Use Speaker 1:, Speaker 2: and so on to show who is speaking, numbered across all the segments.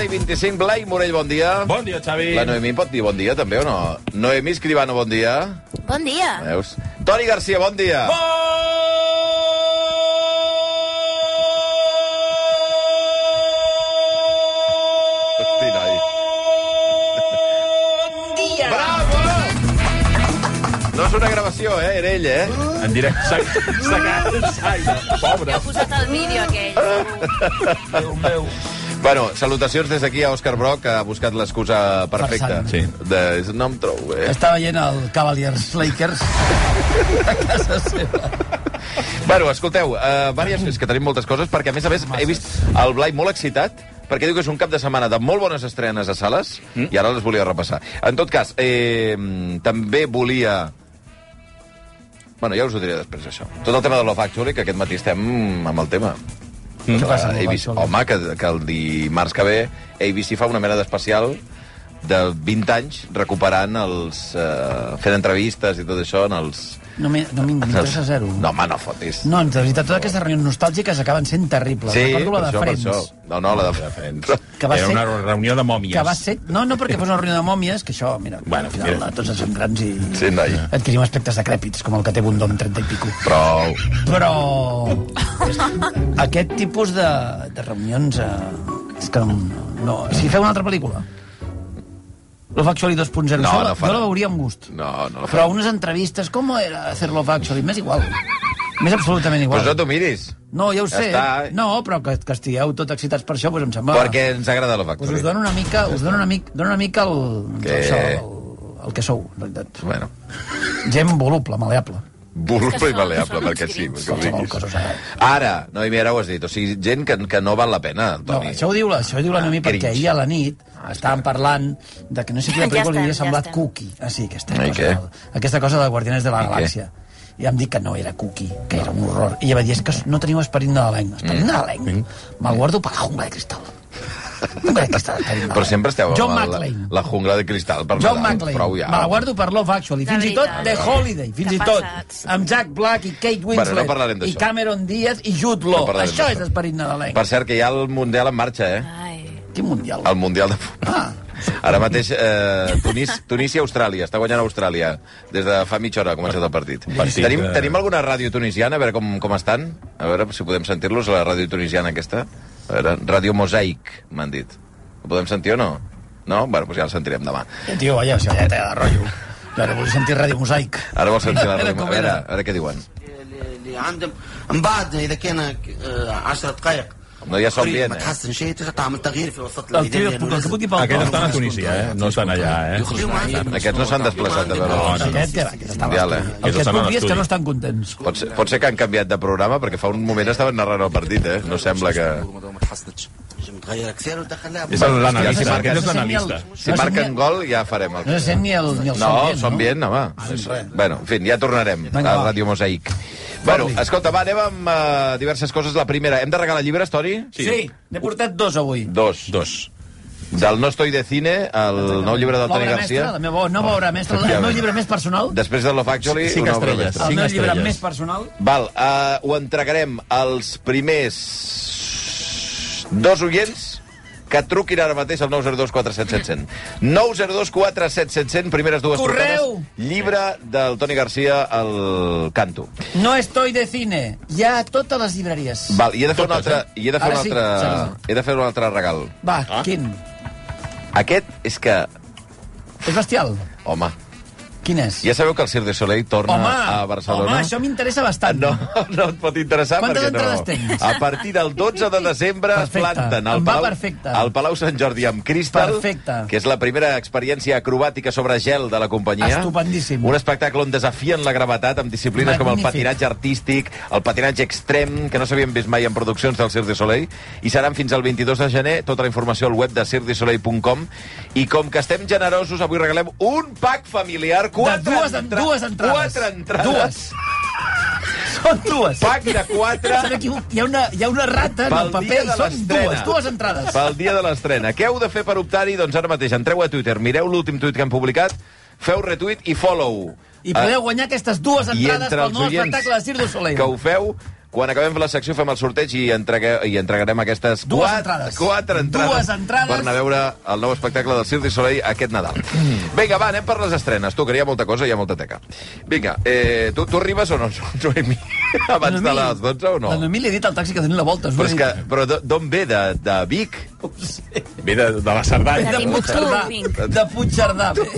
Speaker 1: i 25, Blai Morell, bon dia.
Speaker 2: Bon dia, Xavi.
Speaker 1: La Noemí pot dir bon dia, també, o no? Noemí Escribano, bon dia.
Speaker 3: Bon dia.
Speaker 1: Veus? Toni Garcia, bon dia. Hosti, noi. Bravo! No és una gravació, eh? Era ell, eh?
Speaker 2: En directe. S'ha s'ha quedat en saire. Pobre.
Speaker 3: He posat el vídeo aquell.
Speaker 2: Déu meu.
Speaker 1: Bueno, salutacions des d'aquí a Òscar Broc, que ha buscat l'excusa perfecta.
Speaker 4: Sant.
Speaker 2: Sí.
Speaker 1: De... No em trobo, eh?
Speaker 4: Està veient el Cavaliers Lakers a casa seva.
Speaker 1: Bueno, escolteu, uh, diverses, és que tenim moltes coses, perquè a més a més he vist el Blai molt excitat, perquè diu que és un cap de setmana de molt bones estrenes a sales, mm. i ara les volia repassar. En tot cas, eh, també volia... Bueno, ja us ho diré després, això. Tot el tema de Love Actually, que aquest matí estem amb el tema. Mm.
Speaker 4: Què passa amb Love
Speaker 1: ABC,
Speaker 4: Actually?
Speaker 1: home, que, que el dimarts que ve ABC fa una mena d'especial de 20 anys recuperant els... Eh, fent entrevistes i tot això en els...
Speaker 4: No m'hi- no m'hi- m'interessa zero.
Speaker 1: No, home, no fotis.
Speaker 4: No, de veritat, totes aquestes reunions nostàlgiques acaben sent terribles. Recordo la de Friends.
Speaker 1: No, no, la de Friends.
Speaker 4: Que va
Speaker 2: Era
Speaker 4: ser-
Speaker 2: una reunió de mòmies.
Speaker 4: Que va ser... No, no, perquè fos una reunió de mòmies, que això, mira,
Speaker 2: Bueno,
Speaker 4: al final
Speaker 2: mira.
Speaker 4: eh, tots ens fem grans i
Speaker 1: Sí, noi.
Speaker 4: adquirim aspectes decrèpits, com el que té Bundó amb 30 i pico.
Speaker 1: Prou.
Speaker 4: Però és- aquest tipus de, de reunions... Eh, és que no, no... Si feu una altra pel·lícula, Love Actually 2.0,
Speaker 1: No,
Speaker 4: això la-
Speaker 1: no farà.
Speaker 4: jo la veuria amb gust.
Speaker 1: No, no la farà.
Speaker 4: Però unes entrevistes, com era hacer Love Actually? M'és igual. M'és absolutament igual.
Speaker 1: Pues no t'ho miris.
Speaker 4: No, ja ho
Speaker 1: Ja
Speaker 4: sé.
Speaker 1: està. eh?
Speaker 4: No, però que, que estigueu tot excitats per això, doncs em sembla...
Speaker 1: Perquè ens agrada la
Speaker 4: Pues
Speaker 1: factoria.
Speaker 4: us dono una mica, us dono una mica, dono una mica el,
Speaker 1: Que-
Speaker 4: això, el, el que sou, en realitat.
Speaker 1: Bueno,
Speaker 4: Gent voluble, maleable.
Speaker 1: voluble i
Speaker 3: són-
Speaker 1: maleable,
Speaker 3: són
Speaker 1: perquè
Speaker 3: uns
Speaker 1: sí,
Speaker 3: crits.
Speaker 1: perquè ho
Speaker 4: Qualsevol
Speaker 1: diguis.
Speaker 4: cosa us agrada.
Speaker 1: Ara, no, i ara ho has dit, o sigui, gent que, que no val la pena,
Speaker 4: No,
Speaker 1: Toni.
Speaker 4: això ho diu la, això ho diu la Noemi
Speaker 1: Ah, cringe.
Speaker 4: perquè ahir a la nit estàvem parlant de que no sé quina
Speaker 3: Ja
Speaker 4: pel·lícula li
Speaker 3: estem,
Speaker 4: havia
Speaker 3: ja
Speaker 4: semblat
Speaker 3: estem.
Speaker 4: Cookie. Ah, sí, aquesta
Speaker 1: I
Speaker 4: cosa,
Speaker 1: què?
Speaker 4: de- aquesta cosa de Guardianes de
Speaker 1: I
Speaker 4: la
Speaker 1: què?
Speaker 4: Galàxia. I em dit que no era Cookie, que era un horror. I ella va dir, és que no teniu esperit nadalenc.
Speaker 1: Mm.
Speaker 4: Esperit nadalenc? Me'l guardo per la jungla de cristal. Jungla de cristal, esperit
Speaker 1: Però
Speaker 4: nadalenc.
Speaker 1: sempre esteu
Speaker 4: John
Speaker 1: amb la,
Speaker 4: McClane.
Speaker 1: la jungla de cristal per
Speaker 4: John
Speaker 1: Nadal.
Speaker 4: McClane.
Speaker 1: Prou
Speaker 4: Ja.
Speaker 1: ja.
Speaker 4: Me la guardo per Love Actually.
Speaker 3: De
Speaker 4: Fins i tot
Speaker 3: veritat.
Speaker 4: The Holiday. Fins
Speaker 3: T'ha
Speaker 4: i tot
Speaker 3: passat.
Speaker 4: amb Jack Black i Kate Winslet.
Speaker 1: no parlarem
Speaker 4: I
Speaker 1: d'això.
Speaker 4: Cameron Diaz i Jude Law.
Speaker 1: No parlarem
Speaker 4: això és
Speaker 1: d'això.
Speaker 4: esperit nadalenc.
Speaker 1: Per cert, que hi ha el Mundial en marxa, eh?
Speaker 3: Ai.
Speaker 4: Quin mundial?
Speaker 1: El Mundial de Futbol.
Speaker 4: Ah,
Speaker 1: Ara mateix, eh, Tunís, Tunís i Austràlia. Està guanyant Austràlia. Des de fa mitja hora ha començat el partit.
Speaker 2: Partit,
Speaker 1: tenim,
Speaker 2: eh.
Speaker 1: tenim alguna ràdio tunisiana? A veure com, com estan. A veure si podem sentir-los, a la ràdio tunisiana aquesta. A veure, Ràdio Mosaic, m'han dit. Ho podem sentir o no? No? Bueno, doncs ja el sentirem demà.
Speaker 4: tio, vaja, si ja t'ha de rotllo. Jo ara vull sentir Ràdio Mosaic.
Speaker 1: Ara vols sentir la
Speaker 4: Era
Speaker 1: ràdio...
Speaker 4: com
Speaker 1: A veure,
Speaker 4: era.
Speaker 1: a veure què diuen.
Speaker 5: اللي عندهم من بعد اذا
Speaker 6: כן,
Speaker 5: كان آه،
Speaker 6: אה,
Speaker 5: عشر دقائق
Speaker 1: No hi ha som
Speaker 5: قريب
Speaker 1: bien,
Speaker 5: ما
Speaker 1: eh?
Speaker 5: تحسن شيء ترجع تعمل تغيير في وسط
Speaker 4: El tio,
Speaker 5: الميدان
Speaker 4: el que
Speaker 5: لأنه
Speaker 4: pugui pel
Speaker 2: Aquests
Speaker 4: cor.
Speaker 2: estan a Tunísia, eh? No estan allà, eh?
Speaker 5: اليوم عندهم
Speaker 1: Aquests no s'han desplaçat a veure
Speaker 2: No, no, no.
Speaker 4: Aquest que va, aquest estava...
Speaker 1: Mundial, eh?
Speaker 4: El que et
Speaker 2: Estan en
Speaker 4: puc dir és
Speaker 2: estudi.
Speaker 4: que no estan contents.
Speaker 1: Pot ser, pot ser que han canviat de programa, perquè fa un moment estaven narrant el partit, eh? No sembla que...
Speaker 5: ما تحسنتش نجم تغير اكثر ودخلها
Speaker 2: És
Speaker 1: Ja
Speaker 2: l'analista,
Speaker 1: sé,
Speaker 2: aquest és
Speaker 4: no sé ni el-
Speaker 2: l'analista.
Speaker 1: Si marquen gol, ja farem el...
Speaker 4: No se sent ni el, ni el
Speaker 1: No,
Speaker 4: son
Speaker 1: són
Speaker 4: bien, Ah, doncs
Speaker 1: bien, home. Bueno, en fi, ja tornarem
Speaker 4: Vinga,
Speaker 1: a
Speaker 4: va.
Speaker 1: Ràdio Mosaic. Bueno, escolta, va, anem amb eh, diverses coses. La primera, hem de regalar llibres, Toni?
Speaker 4: Sí, n'he portat dos avui.
Speaker 1: Dos.
Speaker 2: Dos.
Speaker 1: Del No estoy de cine, el nou llibre del Toni
Speaker 4: L'obra mestra,
Speaker 1: Garcia.
Speaker 4: la meva nova obra mestra, el meu
Speaker 1: Efectivament.
Speaker 4: llibre més personal,
Speaker 1: Després de Love Actually,
Speaker 2: Cinc
Speaker 1: una obra
Speaker 2: estrelles.
Speaker 1: mestra.
Speaker 4: el
Speaker 2: Cinc
Speaker 4: meu llibre
Speaker 2: estrelles.
Speaker 4: més personal,
Speaker 1: Val, eh, ho entregarem als primers dos oients que truquin ara mateix al 902 47 700. 902 47 700, primeres dues
Speaker 4: Correu!
Speaker 1: trucades. Llibre del Toni Garcia, el canto.
Speaker 4: No estoy de cine. Hi ha a totes les llibreries. eh?
Speaker 1: Val, i he de fer un
Speaker 2: Totes,
Speaker 1: altre... I he de fer
Speaker 4: Ara
Speaker 1: un
Speaker 4: sí,
Speaker 1: altre,
Speaker 4: saps?
Speaker 1: he de fer un altre regal.
Speaker 4: Va,
Speaker 2: Ah.
Speaker 4: quin?
Speaker 1: Aquest és que...
Speaker 4: És bestial.
Speaker 1: Home,
Speaker 4: Quin és?
Speaker 1: Ja sabeu que el Cirque du Soleil torna
Speaker 4: Home,
Speaker 1: a Barcelona?
Speaker 4: home, això m'interessa bastant.
Speaker 1: No, no et pot interessar
Speaker 4: Quantes
Speaker 1: perquè no.
Speaker 4: entrades tens?
Speaker 1: A partir del 12 de desembre
Speaker 4: Perfecte,
Speaker 1: es planten al
Speaker 4: em va
Speaker 1: Palau,
Speaker 4: perfecte.
Speaker 1: al Palau Sant Jordi amb Crystal,
Speaker 4: Perfecte.
Speaker 1: que és la primera experiència acrobàtica sobre gel de la companyia.
Speaker 4: Estupendíssim.
Speaker 1: Un espectacle on desafien la gravetat amb disciplines com el
Speaker 4: Magnífic.
Speaker 1: patinatge artístic, el patinatge extrem, que no s'havien vist mai en produccions del Cirque du Soleil, i seran fins al 22 de gener. Tota la informació al web de cirquedusoleil.com. I com que estem generosos, avui regalem un pack familiar, quatre
Speaker 4: de dues,
Speaker 1: entra-
Speaker 4: dues entrades.
Speaker 1: Quatre entrades.
Speaker 4: Dues. Són dues.
Speaker 1: Pack de quatre
Speaker 4: Sabe que hi ha una, hi ha una rata en el
Speaker 1: Pel
Speaker 4: paper
Speaker 1: dia
Speaker 4: i
Speaker 1: de
Speaker 4: són
Speaker 1: l'estrena.
Speaker 4: dues, dues entrades.
Speaker 1: Pel dia de l'estrena. Què heu de fer per optar-hi? Doncs ara mateix entreu a Twitter, mireu l'últim tuit que hem publicat, feu retweet i follow.
Speaker 4: I podeu guanyar aquestes dues
Speaker 1: Ah,
Speaker 4: entrades pel nou espectacle de Cirque du Soleil.
Speaker 1: que ho feu, quan acabem la secció fem el sorteig i, entregue, i entregarem aquestes
Speaker 4: Dues
Speaker 1: quatre,
Speaker 4: entrades.
Speaker 1: quatre entrades,
Speaker 4: Dues entrades.
Speaker 1: per anar a veure el nou espectacle del Cirque du Soleil aquest Nadal. Vinga, va, anem per les estrenes. Tu, que hi ha molta cosa, hi ha molta teca. Vinga, eh, tu, tu arribes o no, Noemi?
Speaker 4: La
Speaker 1: Abans
Speaker 4: Noemí-
Speaker 1: de les 12 o no?
Speaker 4: Doncs La Noemí li he dit al taxi que donin la volta. us ho
Speaker 1: Però,
Speaker 4: he
Speaker 1: és
Speaker 4: dit.
Speaker 1: que, però d'o- d'on ve? De, de Vic?
Speaker 2: Ve de, de la
Speaker 3: De
Speaker 2: Cerdanya.
Speaker 3: Timbuktu,
Speaker 4: Puigcerdà.
Speaker 3: vinc.
Speaker 4: De Puigcerdà. bé.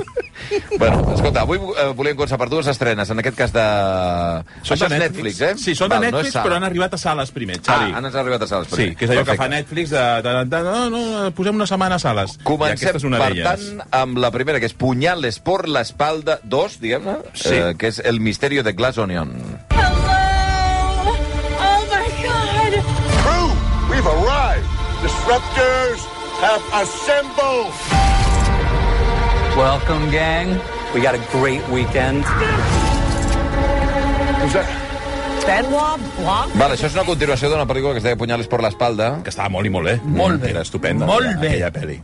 Speaker 1: Bueno, escolta, avui eh, volíem començar per dues estrenes, en aquest cas de...
Speaker 2: Són
Speaker 1: Això
Speaker 2: de
Speaker 1: és
Speaker 2: Netflix.
Speaker 1: eh?
Speaker 2: Sí, són de
Speaker 1: Val, no
Speaker 2: Netflix,
Speaker 1: és sala.
Speaker 2: però han arribat a sales primer,
Speaker 1: Ah,
Speaker 2: Xavi.
Speaker 1: han arribat a sales.
Speaker 2: Sí,
Speaker 1: primer.
Speaker 2: que és allò que fa
Speaker 1: Perfecte.
Speaker 2: Netflix de, de, de, de no, no, posem una setmana a sales. I
Speaker 1: Comencem,
Speaker 2: aquesta és una
Speaker 1: per
Speaker 2: d'elles.
Speaker 1: tant, amb la primera, que és Punyales por l'espalda 2, diguem-ne,
Speaker 2: Sí.
Speaker 1: eh, que és El misterio de Glass Onion.
Speaker 3: Hello! Oh my god!
Speaker 7: We've arrived. Disruptors have assembled.
Speaker 8: Welcome, gang. We got a great weekend.
Speaker 1: Vale, això és una continuació d'una pel·lícula que es deia Punyales por l'espalda.
Speaker 2: Que estava molt i molt bé.
Speaker 4: Molt bé.
Speaker 2: Era estupenda.
Speaker 4: Molt
Speaker 2: aquella, Aquella
Speaker 4: bé.
Speaker 2: pel·li.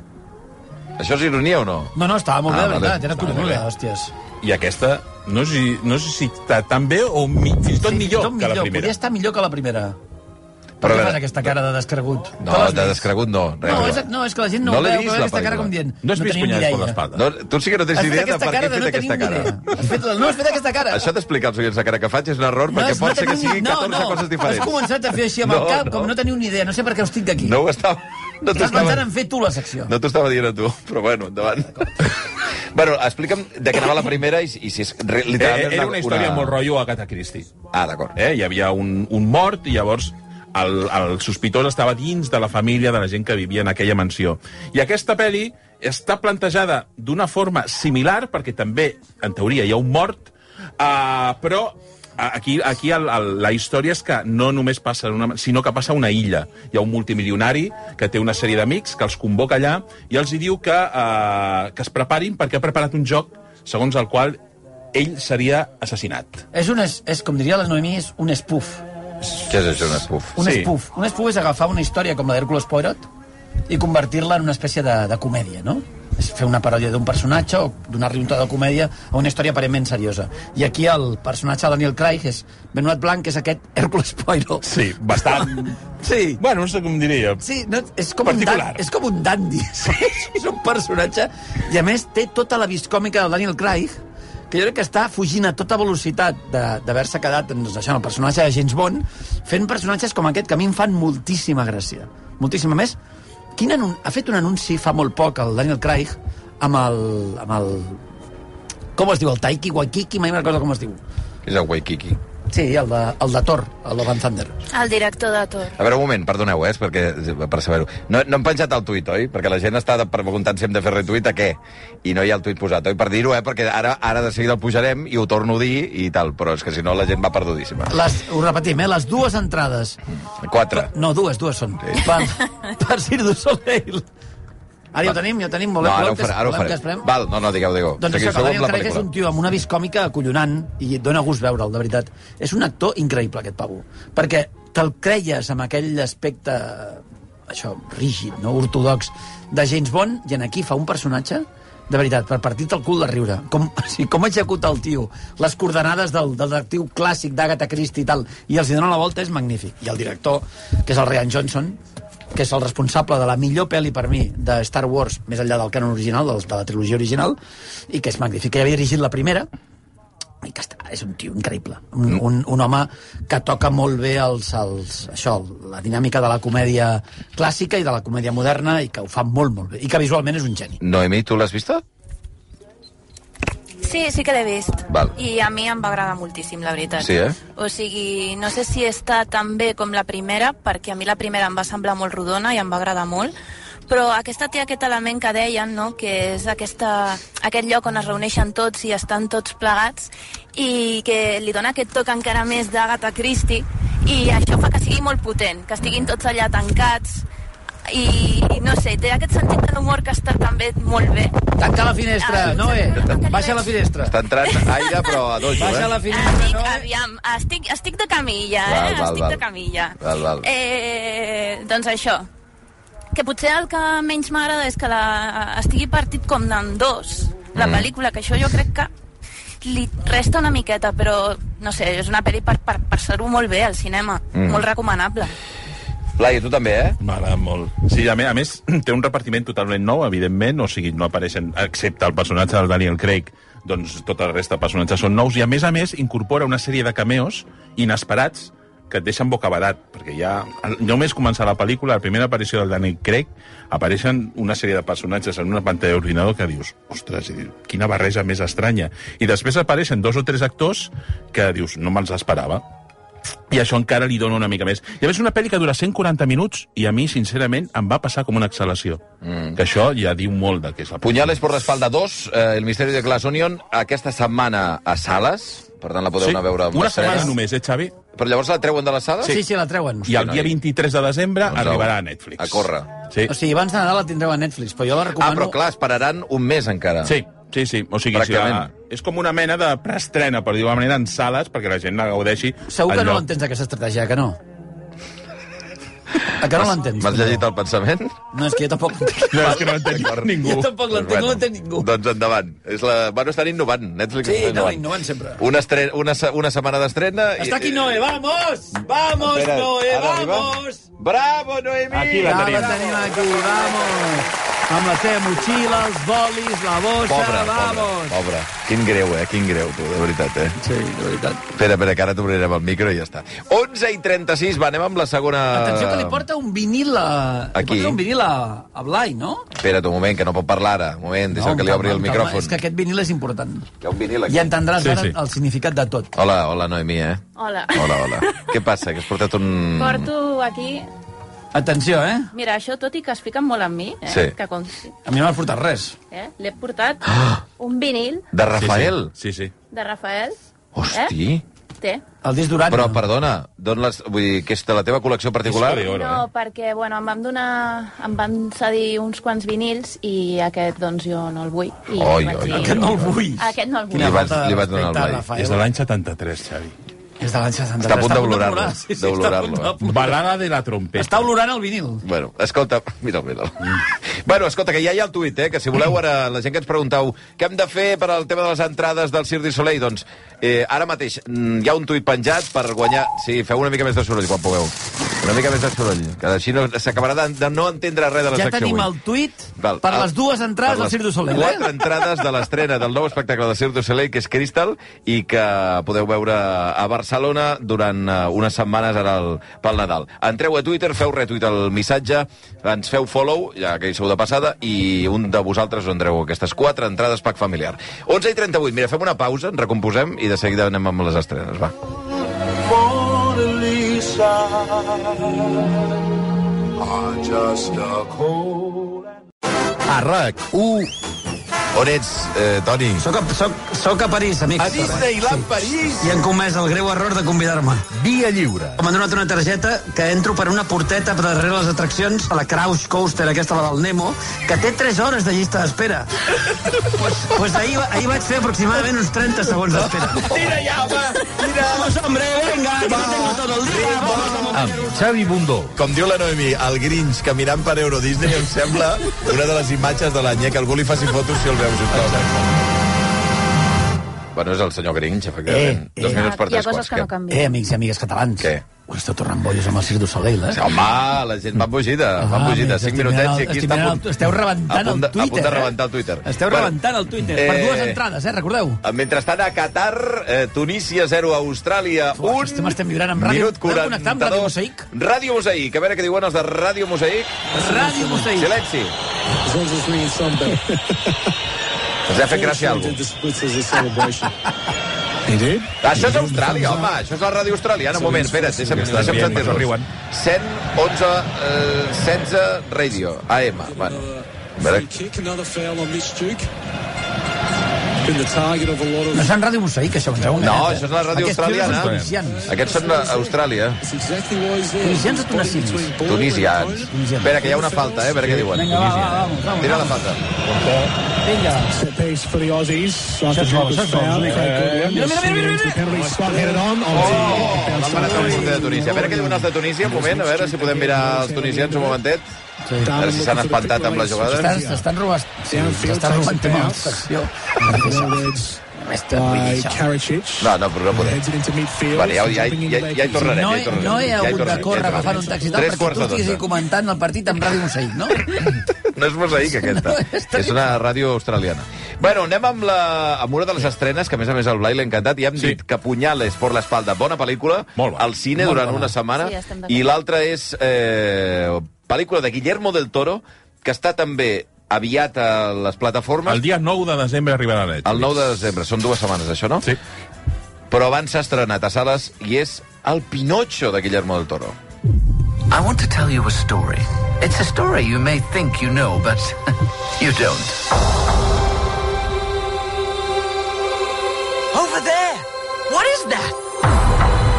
Speaker 1: Això és ironia o no?
Speaker 4: No, no, estava molt
Speaker 1: Ah,
Speaker 4: bé, de
Speaker 1: vale.
Speaker 4: veritat. Era
Speaker 1: Estava
Speaker 4: collonuda,
Speaker 2: molt bé.
Speaker 4: hòsties.
Speaker 2: I aquesta, no sé, si- no sé si està tan bé o mi, fins i tot
Speaker 4: Sí,
Speaker 2: millor
Speaker 4: tot
Speaker 2: que la
Speaker 4: Podria
Speaker 2: primera.
Speaker 4: estar millor que la primera.
Speaker 1: Però a
Speaker 4: Però què
Speaker 1: veure-
Speaker 4: fas aquesta cara de descregut?
Speaker 1: No,
Speaker 4: Te l'has
Speaker 1: de
Speaker 4: vist?
Speaker 1: descregut no. res,
Speaker 4: No,
Speaker 1: res.
Speaker 4: és, no, és que la gent no,
Speaker 1: No
Speaker 4: ho
Speaker 1: l'he
Speaker 4: veu,
Speaker 1: vist, la
Speaker 4: veu aquesta cara
Speaker 1: pel·lícula.
Speaker 4: com dient...
Speaker 2: No has vist
Speaker 4: tenim ni
Speaker 2: Punyades per
Speaker 4: idea.
Speaker 2: l'espalda?
Speaker 1: No, tu sí que no tens
Speaker 4: Has fet
Speaker 1: idea de
Speaker 4: aquesta
Speaker 1: per què
Speaker 4: cara
Speaker 1: he
Speaker 4: de
Speaker 1: fet
Speaker 4: no
Speaker 1: aquesta
Speaker 4: tenim ni
Speaker 1: cara.
Speaker 4: idea. Has fet, no has fet aquesta cara.
Speaker 1: Això d'explicar als oients la cara que faig és un error, perquè
Speaker 4: has-
Speaker 1: pot ser que
Speaker 4: teniu ni-
Speaker 1: siguin 14
Speaker 4: no, no,
Speaker 1: coses diferents.
Speaker 4: Has començat a fer així amb
Speaker 1: No,
Speaker 4: el cap,
Speaker 1: no.
Speaker 4: com no teniu ni idea. No sé per què us tinc aquí.
Speaker 1: No ho estava... No t'ho
Speaker 4: Estàs pensant
Speaker 1: estava,
Speaker 4: en fer tu la secció.
Speaker 1: no t'ho estava dient a tu, però bueno, endavant. bueno, explica'm de què anava la primera i, i si és re,
Speaker 2: Eh, eh,
Speaker 1: literalment...
Speaker 2: era una història molt rotllo Agatha Christie.
Speaker 1: Ah, d'acord.
Speaker 2: Eh? Hi havia un, un mort i llavors el, el sospitós estava dins de la família de la gent que vivia en aquella mansió. I aquesta pel·li està plantejada d'una forma similar, perquè també, en teoria, hi ha un mort, uh, però a- aquí, aquí el, el, la història és que no només passa en una, sinó que passa a una illa. Hi ha un multimilionari que té una sèrie d'amics que els convoca allà i els hi diu que, uh, que es preparin perquè ha preparat un joc segons el qual ell seria assassinat.
Speaker 4: És, un, es- és, com diria la Noemí, és un spoof.
Speaker 1: Què és això, un espuf?
Speaker 4: Un
Speaker 2: Sí.
Speaker 4: spoof. Un spoof és agafar una història com la d'Hércules Poirot i convertir-la en una espècie de, de comèdia, no? És fer una paròdia d'un personatge o donar-li un to de comèdia a una història aparentment seriosa. I aquí el personatge de Daniel Craig és Benoit Blanc, que és aquest Hércules Poirot.
Speaker 2: Sí, bastant...
Speaker 4: Sí.
Speaker 2: Bueno, no sé com diria.
Speaker 4: Sí, no, és, com un dan,
Speaker 2: Particular.
Speaker 4: és com un dandy. Sí, és un personatge... I a més té tota la viscòmica del Daniel Craig, que jo crec que està fugint a tota velocitat de- d'haver-se quedat doncs, això, en el personatge de James Bond, fent personatges com aquest, que a mi em fan moltíssima gràcia. Moltíssima. A més, quin anun... ha fet un anunci fa molt poc el Daniel Craig amb el... Amb el... Com es diu? El Taiki Waikiki? Mai me'n recordo com es diu.
Speaker 1: És el Waikiki.
Speaker 4: Sí, el de, el de Thor, el de Van Thunder.
Speaker 3: El director de Tor.
Speaker 1: A veure, un moment, perdoneu, eh, és perquè, per saber-ho. No, no hem penjat el tuit, oi? Perquè la gent està de- preguntant si hem de fer retuit a què. I no hi ha el tuit posat, oi? Per dir-ho, eh? Perquè ara, ara de seguida el pujarem i ho torno a dir i tal. Però és que si no la gent va perdudíssima.
Speaker 4: Les, ho repetim, eh? Les dues entrades
Speaker 1: Quatre.
Speaker 4: No, dues, dues són. Sí. Per, per Cirque du Soleil. Ara ja ho tenim, ja ho tenim. Voleu,
Speaker 1: no, ara
Speaker 4: voleu
Speaker 1: ho faré, ara ho
Speaker 4: voleu
Speaker 1: faré.
Speaker 4: esperem?
Speaker 1: Val, no, no, digueu, digueu.
Speaker 4: Doncs
Speaker 1: Seguiu,
Speaker 4: això, que el
Speaker 1: seguiu amb
Speaker 4: Daniel
Speaker 1: la
Speaker 4: Craig és un
Speaker 1: pel·lícula.
Speaker 4: tio amb una viscòmica acollonant i et dona gust veure'l, de veritat. És un actor increïble, aquest pavo. Perquè te'l creies amb aquell aspecte això, rígid, no? ortodox, de James Bond, i en aquí fa un personatge de veritat, per partir-te el cul de riure. Com, o sigui, com executa el tio les coordenades del, del detectiu clàssic d'Agatha Christie i tal, i els hi dona la volta, és magnífic. I el director, que és el Ryan Johnson, que és el responsable de la millor pel·li per mi de Star Wars, més enllà del canon original, del, de la trilogia original, i que és magnífic, que ja havia dirigit la primera, i que està, és un tio increïble. Un, un, un home que toca molt bé els, els, això, la dinàmica de la comèdia clàssica i de la comèdia moderna, i que ho fa molt, molt bé. I que visualment és un geni.
Speaker 1: Noemí, tu l'has vista?
Speaker 9: Sí, sí que l'he vist.
Speaker 1: Val.
Speaker 9: I a mi em va agradar moltíssim, la veritat.
Speaker 1: Sí, eh?
Speaker 9: O sigui, no sé si està tan bé com la primera, perquè a mi la primera em va semblar molt rodona i em va agradar molt, però aquesta té aquest element que deien, no?, que és aquesta, aquest lloc on es reuneixen tots i estan tots plegats i que li dona aquest toc encara més d'Agatha Christie i això fa que sigui molt potent, que estiguin tots allà tancats i, i no sé, té aquest sentit de l'humor que està també molt bé.
Speaker 4: Tanca la finestra,
Speaker 9: Ah,
Speaker 4: Noé.
Speaker 9: no.
Speaker 4: Baixa la finestra.
Speaker 1: Està entrant aire, però a dojo, eh?
Speaker 4: Baixa la finestra,
Speaker 9: Estic,
Speaker 4: Noé.
Speaker 9: Ah, aviam, estic, estic de camilla,
Speaker 1: Val,
Speaker 9: eh?
Speaker 1: val,
Speaker 9: estic
Speaker 1: val.
Speaker 9: de camilla.
Speaker 1: Val, val.
Speaker 9: Eh, doncs això, que potser el que menys m'agrada és que la, estigui partit com en dos, la
Speaker 1: Mm.
Speaker 9: pel·lícula, que això jo crec que li resta una miqueta, però no sé, és una pel·li per, per passar-ho molt bé al cinema,
Speaker 1: Mm.
Speaker 9: mm. molt recomanable.
Speaker 1: Laia, tu també, eh?
Speaker 2: M'agrada molt. Sí, a més, a més, té un repartiment totalment nou, evidentment, o sigui, no apareixen, excepte el personatge del Daniel Craig, doncs tota la resta de personatges són nous, i a més a més incorpora una sèrie de cameos inesperats que et deixen bocabadat, perquè ja només començar la pel·lícula, la primera aparició del Daniel Craig, apareixen una sèrie de personatges en una pantalla d'ordinador que dius, ostres, i dius, quina barreja més estranya. I després apareixen dos o tres actors que dius, no me'ls esperava i això encara li dona una mica més. I a més, una pel·li que dura 140 minuts i a mi, sincerament, em va passar com una exhalació. Mm. Que això ja diu molt de què és la
Speaker 1: Punyales por la espalda 2, eh, El misteri de Glass Onion, aquesta setmana a sales, per tant la podeu
Speaker 2: Sí,
Speaker 1: anar a veure amb
Speaker 2: una
Speaker 1: les sales.
Speaker 2: setmana només, eh, Xavi?
Speaker 1: Però llavors la treuen de les sales?
Speaker 4: Sí, sí, la treuen.
Speaker 2: I el
Speaker 1: noi.
Speaker 2: dia 23 de desembre
Speaker 1: Doncs
Speaker 2: doncs
Speaker 1: au,
Speaker 2: arribarà a Netflix.
Speaker 1: a córrer.
Speaker 2: Sí.
Speaker 4: O sigui, abans de Nadal la tindreu a Netflix, però jo la
Speaker 1: Ah,
Speaker 4: recomano...
Speaker 1: però clar, esperaran un mes encara.
Speaker 2: sí, sí, sí. O sigui, si la,
Speaker 1: Pràcticament.
Speaker 2: és com una mena de preestrena, per dir-ho d'alguna manera, en sales, perquè la gent la gaudeixi.
Speaker 4: Segur que
Speaker 2: en
Speaker 4: no
Speaker 2: lloc-
Speaker 4: l'entens, aquesta estratègia, eh, que no? A que no l'entens?
Speaker 1: M'has llegit el pensament?
Speaker 4: No, és que jo tampoc l'entenc.
Speaker 2: No, és que no l'entén
Speaker 1: D'acord.
Speaker 2: ningú.
Speaker 4: Jo tampoc l'entenc,
Speaker 1: Doncs
Speaker 4: no l'entén ningú.
Speaker 1: Doncs endavant. És la... Bueno, estan innovant. Netflix
Speaker 4: Sí,
Speaker 1: està
Speaker 4: no,
Speaker 1: innovant.
Speaker 4: innovant sempre.
Speaker 1: Una, estre... una, se- una setmana d'estrena... i-
Speaker 4: Està aquí Noé, vamos! Vamos,
Speaker 1: Espera,
Speaker 4: Noé,
Speaker 1: ha d'arribar.
Speaker 4: vamos!
Speaker 1: Bravo, Noemí!
Speaker 2: Aquí la
Speaker 4: Ja
Speaker 2: tenim.
Speaker 4: la tenim aquí, vamos! Amb la teva motxilla, els bolis, la bossa,
Speaker 1: Pobre, pobre,
Speaker 4: vamos!
Speaker 1: pobre. Quin greu, eh? Quin greu, tu, de veritat, eh?
Speaker 4: Sí, de veritat.
Speaker 1: Espera, espera, que ara t'obrirem el micro i ja està. 11 i 36, va, anem amb la segona...
Speaker 4: Atenció que li porta un vinil a...
Speaker 1: Aquí.
Speaker 4: Li porta un vinil a, a Blai, no?
Speaker 1: Espera't un moment, que no pot parlar ara. Un moment, deixa'm que li obri el micròfon.
Speaker 4: És que aquest vinil és important.
Speaker 1: Hi ha un vinil aquí.
Speaker 4: I entendràs
Speaker 2: Sí,
Speaker 4: sí, ara
Speaker 2: sí.
Speaker 4: sí. el significat de tot.
Speaker 1: Hola, hola, Noemí, eh?
Speaker 9: Hola.
Speaker 1: Hola, Mm. hola. Què passa? Que has portat un...
Speaker 9: Porto aquí...
Speaker 4: Atenció, eh?
Speaker 9: Mira, això tot i que es fiquen molt amb mi, eh?
Speaker 1: Sí.
Speaker 9: que consti,
Speaker 4: A mi no m'has portat res.
Speaker 9: eh? l'he portat
Speaker 1: Ah!
Speaker 9: un vinil
Speaker 1: De Rafael.
Speaker 2: Sí, sí. sí.
Speaker 9: de Rafael.
Speaker 1: Hosti.
Speaker 9: Té.
Speaker 4: El disc d'Urano.
Speaker 1: Però, perdona, d'on les... Vull dir, que és de la teva col·lecció particular?
Speaker 2: Disco de oro,
Speaker 9: No, perquè, bueno, em van donar... Em van cedir uns quants vinils i aquest, doncs, jo no el vull. I
Speaker 1: Oi, oi,
Speaker 9: vaig dir-
Speaker 1: oi.
Speaker 4: Aquest no el vull.
Speaker 9: Aquest no el vull.
Speaker 1: Li vas-
Speaker 4: falta de
Speaker 1: li vas donar el
Speaker 4: respecte a
Speaker 1: Blai.
Speaker 2: eh?
Speaker 4: Rafael.
Speaker 2: És de l'any 73, Xavi.
Speaker 4: És de l'any 60.
Speaker 1: Està a punt d'olorar-lo,
Speaker 4: d'olorar, està a punt
Speaker 1: d'olorar-lo, eh?
Speaker 4: d'olorar.
Speaker 2: Balada de la trompeta.
Speaker 4: Està olorant el vinil.
Speaker 1: Bueno, escolta, mira'l, mira'l. Bueno, escolta, que ja hi ha el tuit, eh? Que si voleu ara, la gent que ens pregunteu què hem de fer per al tema de les entrades del Cirque du Soleil, doncs eh, ara mateix mm, hi ha un tuit penjat per guanyar... Sí, feu una mica més de soroll quan pugueu. Una mica més de soroll, que així no, s'acabarà de, de no entendre res de la
Speaker 4: Ja
Speaker 1: secció
Speaker 4: tenim
Speaker 1: avui.
Speaker 4: el tuit per les dues entrades del Cirque du Soleil,
Speaker 1: Ah, Quatre
Speaker 4: eh?
Speaker 1: entrades de l'estrena del nou espectacle de Cirque du Soleil, que és Crystal, i que podeu veure a Barcelona durant eh, unes setmanes ara el, pel Nadal. Entreu a Twitter, feu retuit el missatge, ens feu follow, ja que hi sou de passada, i un de vosaltres us endreu aquestes quatre entrades pack familiar. 11 i 38, mira, fem una pausa, ens recomposem i de seguida anem amb les estrenes, va.
Speaker 10: Mona Lisa. I'm just a cold.
Speaker 1: A RAC 1. On ets, eh, Toni?
Speaker 4: Soc a, soc, soc a París, amics.
Speaker 1: A Disneyland París!
Speaker 4: I han comès el greu error de convidar-me.
Speaker 1: Via lliure.
Speaker 4: M'han donat una targeta que entro per una porteta per darrere les atraccions, a la Crouch Coaster, aquesta la del Nemo, que té 3 hores de llista d'espera. pues, pues ahir, va- ahir vaig fer aproximadament uns 30 segons d'espera. Tira ja, home! Tira! Vamos, hombre, venga, que no tengo todo el día. Vamos, vamos.
Speaker 11: amb Xavi Bundó.
Speaker 12: Com diu la Noemi, el Grinch caminant per Euro Disney em sembla una de les imatges de l'any, eh? que algú li faci fotos si el veu, sisplau.
Speaker 1: Bueno, és el senyor Grinch, efectivament.
Speaker 4: Eh,
Speaker 1: Dos
Speaker 4: eh.
Speaker 1: minuts per
Speaker 9: Hi ha
Speaker 1: tres
Speaker 9: coses
Speaker 1: quarts.
Speaker 9: que no
Speaker 1: que-
Speaker 9: canvien.
Speaker 4: Eh, amics i amigues catalans.
Speaker 1: Què?
Speaker 4: Ho esteu tornant bollos amb el Cirque du Soleil, eh? Ah,
Speaker 1: Home, la gent va embogida, va embogida.
Speaker 4: amics,
Speaker 1: Cinc
Speaker 4: estic mirant
Speaker 1: minutets
Speaker 4: el-
Speaker 1: i aquí
Speaker 4: estic
Speaker 1: està a
Speaker 4: mirant
Speaker 1: punt.
Speaker 4: el- Esteu rebentant
Speaker 1: a punt de-
Speaker 4: el Twitter.
Speaker 1: A punt de
Speaker 4: eh?
Speaker 1: rebentar el Twitter.
Speaker 4: Esteu
Speaker 1: Bueno,
Speaker 4: rebentant el Twitter. Per
Speaker 1: eh,
Speaker 4: dues entrades, eh? Recordeu?
Speaker 1: Mentrestant, a Qatar, eh, Tunísia 0, Austràlia
Speaker 4: Ua,
Speaker 1: 1...
Speaker 4: estem- estem vibrant amb ràdio.
Speaker 1: Minut
Speaker 4: Podem connectar amb Ràdio
Speaker 1: 42.
Speaker 4: Mosaic?
Speaker 1: Ràdio Mosaic. A veure què diuen els de Ràdio Mosaic.
Speaker 4: Ràdio Mosaic.
Speaker 1: Silenci. Els ha fet gràcia alguna cosa. Això és Austràlia, home. Això és la ràdio australiana. Un moment, espera't, deixa'm, deixa'm
Speaker 2: Riuen,
Speaker 1: sentir-los.
Speaker 2: riuen.
Speaker 1: 111, eh, 16 Radio, AM. Bueno, a veure,
Speaker 4: No és en Ràdio Moçaïc, això, ens heu enganyat.
Speaker 1: No, això és la ràdio
Speaker 4: Aquests tios
Speaker 1: australiana.
Speaker 4: són tunisians.
Speaker 1: Aquests són d'Austràlia,
Speaker 4: Tunisians o tunecians?
Speaker 1: tunisians.
Speaker 4: Tunisians.
Speaker 1: Espera, que hi ha una falta, eh? A veure què diuen.
Speaker 4: Vinga, va, va, vamos, vamos.
Speaker 1: Tira la falta.
Speaker 4: Vinga.
Speaker 13: Set piece for the Aussies. After
Speaker 4: That's goals,
Speaker 13: Drogba's
Speaker 4: that's
Speaker 13: foul,
Speaker 4: goals,
Speaker 13: Craig Goodwin
Speaker 4: Mira, mira, mira, mira,
Speaker 13: is the
Speaker 4: mira.
Speaker 13: penalty spot headed on.
Speaker 1: Oh, l'han parat el porter de Tunísia. A veure què diuen els de Tunísia, un moment, a veure si podem mirar els tunisians un momentet. A veure si s'han espantat amb la jugada.
Speaker 4: Estan, estan robant... Sí, estan robant tema d'abstracció. Aquesta
Speaker 13: By
Speaker 4: bruixa.
Speaker 13: Karacic.
Speaker 1: No, no, però no podem.
Speaker 13: Heads it into midfield.
Speaker 1: Vale, ja, ja, ja, ja hi tornarem.
Speaker 4: No,
Speaker 1: ja hi
Speaker 4: he,
Speaker 1: tornarem,
Speaker 4: no he
Speaker 1: ja hi
Speaker 4: hagut de
Speaker 1: tornarem,
Speaker 4: córrer
Speaker 1: ja hi
Speaker 4: agafant
Speaker 1: tornarem.
Speaker 4: un taxi i tal,
Speaker 1: Tres
Speaker 4: perquè
Speaker 1: quarts
Speaker 4: tu
Speaker 1: de
Speaker 4: estiguis
Speaker 1: dotze.
Speaker 4: comentant el partit amb Ràdio Moçaïc, no?
Speaker 1: No és mosaic, aquesta. No, és una ràdio australiana. Bueno, anem amb, la, amb una de les estrenes, que a més a més al Blai l'ha encantat, i hem
Speaker 2: Sí.
Speaker 1: sí. dit que Punyales por la espalda, bona pel·lícula,
Speaker 2: Molt bona.
Speaker 1: al cine Molt durant bona. una setmana,
Speaker 3: Sí, estem d'acord.
Speaker 1: i l'altra és eh, pel·lícula de Guillermo del Toro, que està també aviat a les plataformes.
Speaker 2: El dia 9 de desembre arribarà a Netflix.
Speaker 1: El 9 de desembre, són dues setmanes, això, no?
Speaker 2: Sí.
Speaker 1: Però abans s'ha estrenat a sales i és El Pinocho de Guillermo del Toro.
Speaker 6: I want to tell you a story. It's a story you may think you know, but you don't. Over there! What is that?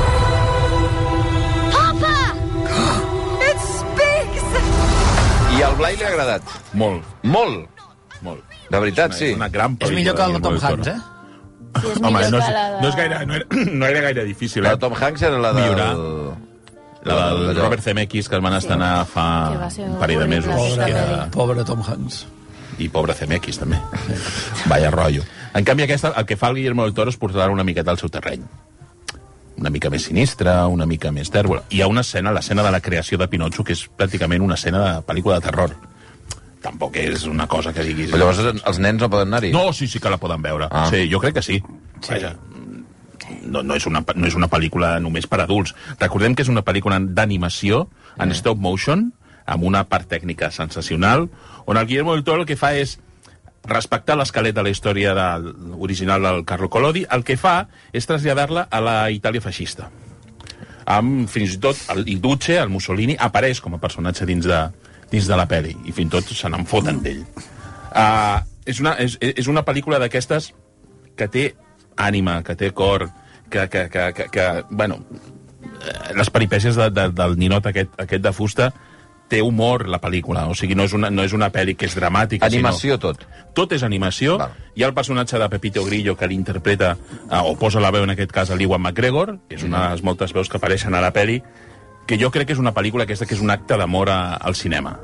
Speaker 1: I al Blai li ha agradat.
Speaker 2: Molt,
Speaker 1: Molt.
Speaker 2: molt.
Speaker 1: De veritat,
Speaker 2: És
Speaker 1: sí.
Speaker 2: una gran
Speaker 4: És
Speaker 2: pel·lícula
Speaker 4: millor que el
Speaker 2: de
Speaker 4: Tom
Speaker 2: Guillermo del
Speaker 4: Hanks,
Speaker 2: Toro.
Speaker 4: eh?
Speaker 3: Sí, és
Speaker 2: Home,
Speaker 3: millor
Speaker 2: no, és,
Speaker 3: que la de...
Speaker 2: no, és gaire, no, era, no era gaire difícil,
Speaker 1: La
Speaker 2: eh?
Speaker 1: de Tom Hanks era la del...
Speaker 2: Millorar. La del
Speaker 1: d'allò.
Speaker 2: Robert Zemeckis, que el van estrenar fa
Speaker 3: Que va ser
Speaker 2: un parell de
Speaker 3: horrible,
Speaker 2: mesos.
Speaker 3: aquesta
Speaker 2: Que
Speaker 3: pel·li.
Speaker 2: era...
Speaker 4: Pobre Tom Hanks.
Speaker 2: I pobre Zemeckis, també. Vaya rotllo. En canvi, aquesta, el que fa el Guillermo del Toro és portar una miqueta al seu terreny. Una mica més sinistra, una mica més tèrbola. Hi ha una escena, l'escena de la creació de Pinotxo, que és pràcticament una escena de pel·lícula de terror. Tampoc és una cosa que diguis...
Speaker 1: Però llavors els nens no poden anar-hi?
Speaker 2: No, sí, sí que la poden veure.
Speaker 1: Ah.
Speaker 2: Ah. Sí, jo crec que sí. sí. Vaja, no, no, és una, no és una pel·lícula només per adults. Recordem que és una pel·lícula d'animació en stop motion, amb una part tècnica sensacional, on el Guillermo del Toro el que fa és respectar l'esquelet de la història del, original del Carlo Collodi, el que fa és traslladar-la a la Itàlia fascista. Amb, fins i tot el, el Duce, el Mussolini, apareix com a personatge dins de, dins de la pel·li, i fins i tot se n'en foten d'ell. Uh, és, una, és, és una pel·lícula d'aquestes que té ànima, que té cor, que, que, que, que, que bueno, eh, les peripècies de, de, del ninot aquest, aquest de fusta té humor, la pel·lícula. O sigui, no és una, no és una pel·li que és dramàtica,
Speaker 1: Animació,
Speaker 2: sinó...
Speaker 1: tot.
Speaker 2: Tot és animació.
Speaker 1: Val.
Speaker 2: Hi ha el personatge de Pepito Grillo que l'interpreta, eh, o posa la veu en aquest cas, a l'Iwan McGregor, que és una de les moltes veus que apareixen a la pel·li, que jo crec que és una pel·lícula aquesta que és un acte d'amor a- al cinema.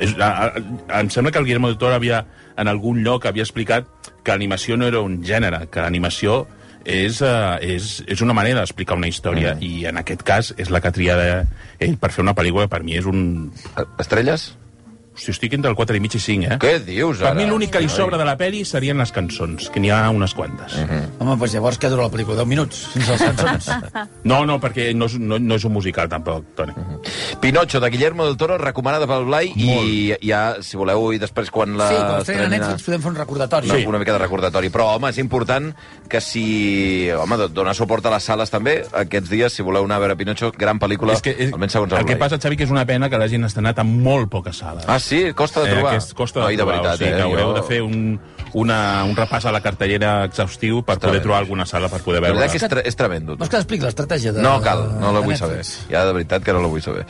Speaker 2: És, a, a, em sembla que el Guillermo del Toro havia, en algun lloc havia explicat que l'animació no era un gènere, que l'animació és, uh, és, és una manera d'explicar una història, mm. i en aquest cas és la que ha triat eh, ell per fer una pel·lícula que per mi és un...
Speaker 1: Estrelles?
Speaker 2: Si estic entre el 4 i mig i 5, eh?
Speaker 1: Què dius,
Speaker 2: Per
Speaker 1: ara?
Speaker 2: mi l'únic que li sobra de la peli serien les cançons, que n'hi ha unes quantes. Mm
Speaker 1: Mhm.
Speaker 2: -hmm.
Speaker 4: Home, doncs llavors què dura la pel·lícula? 10 minuts, sense les cançons.
Speaker 2: No, no, perquè no és, no, no és un musical, tampoc, Toni. Mm
Speaker 1: Mhm.
Speaker 2: -hmm.
Speaker 1: Pinocho, de Guillermo del Toro, recomanada pel Blai, i ja, si voleu, i després quan la...
Speaker 4: Sí, quan estrenin a
Speaker 1: estrenin
Speaker 4: Netflix podem fer un recordatori.
Speaker 1: Una,
Speaker 2: Sí.
Speaker 1: una mica de recordatori. Però, home, és important que si... Home, do- donar suport a les sales també, aquests dies, si voleu anar a veure Pinocho, gran pel·lícula,
Speaker 2: és que, és,
Speaker 1: almenys segons el,
Speaker 2: el que
Speaker 1: Blai.
Speaker 2: passa, Xavi, que és una pena que l'hagin estrenat a molt poques sales.
Speaker 1: Ah, sí? Costa de trobar.
Speaker 2: aquest Eh, costa de
Speaker 1: Noi,
Speaker 2: trobar,
Speaker 1: veritat,
Speaker 2: o sigui,
Speaker 1: eh?
Speaker 2: que haureu
Speaker 1: Jo-
Speaker 2: de fer un, una, un repàs a la cartellera exhaustiu per
Speaker 1: Està
Speaker 2: poder
Speaker 1: bé.
Speaker 2: trobar alguna sala per poder
Speaker 1: La
Speaker 2: veure.
Speaker 1: veritat que és, tre és tremendo.
Speaker 4: Vols que t'expliqui l'estratègia de...
Speaker 1: No cal, no la
Speaker 4: de
Speaker 1: vull saber.
Speaker 4: Netflix?
Speaker 1: Ja de veritat que no la vull saber.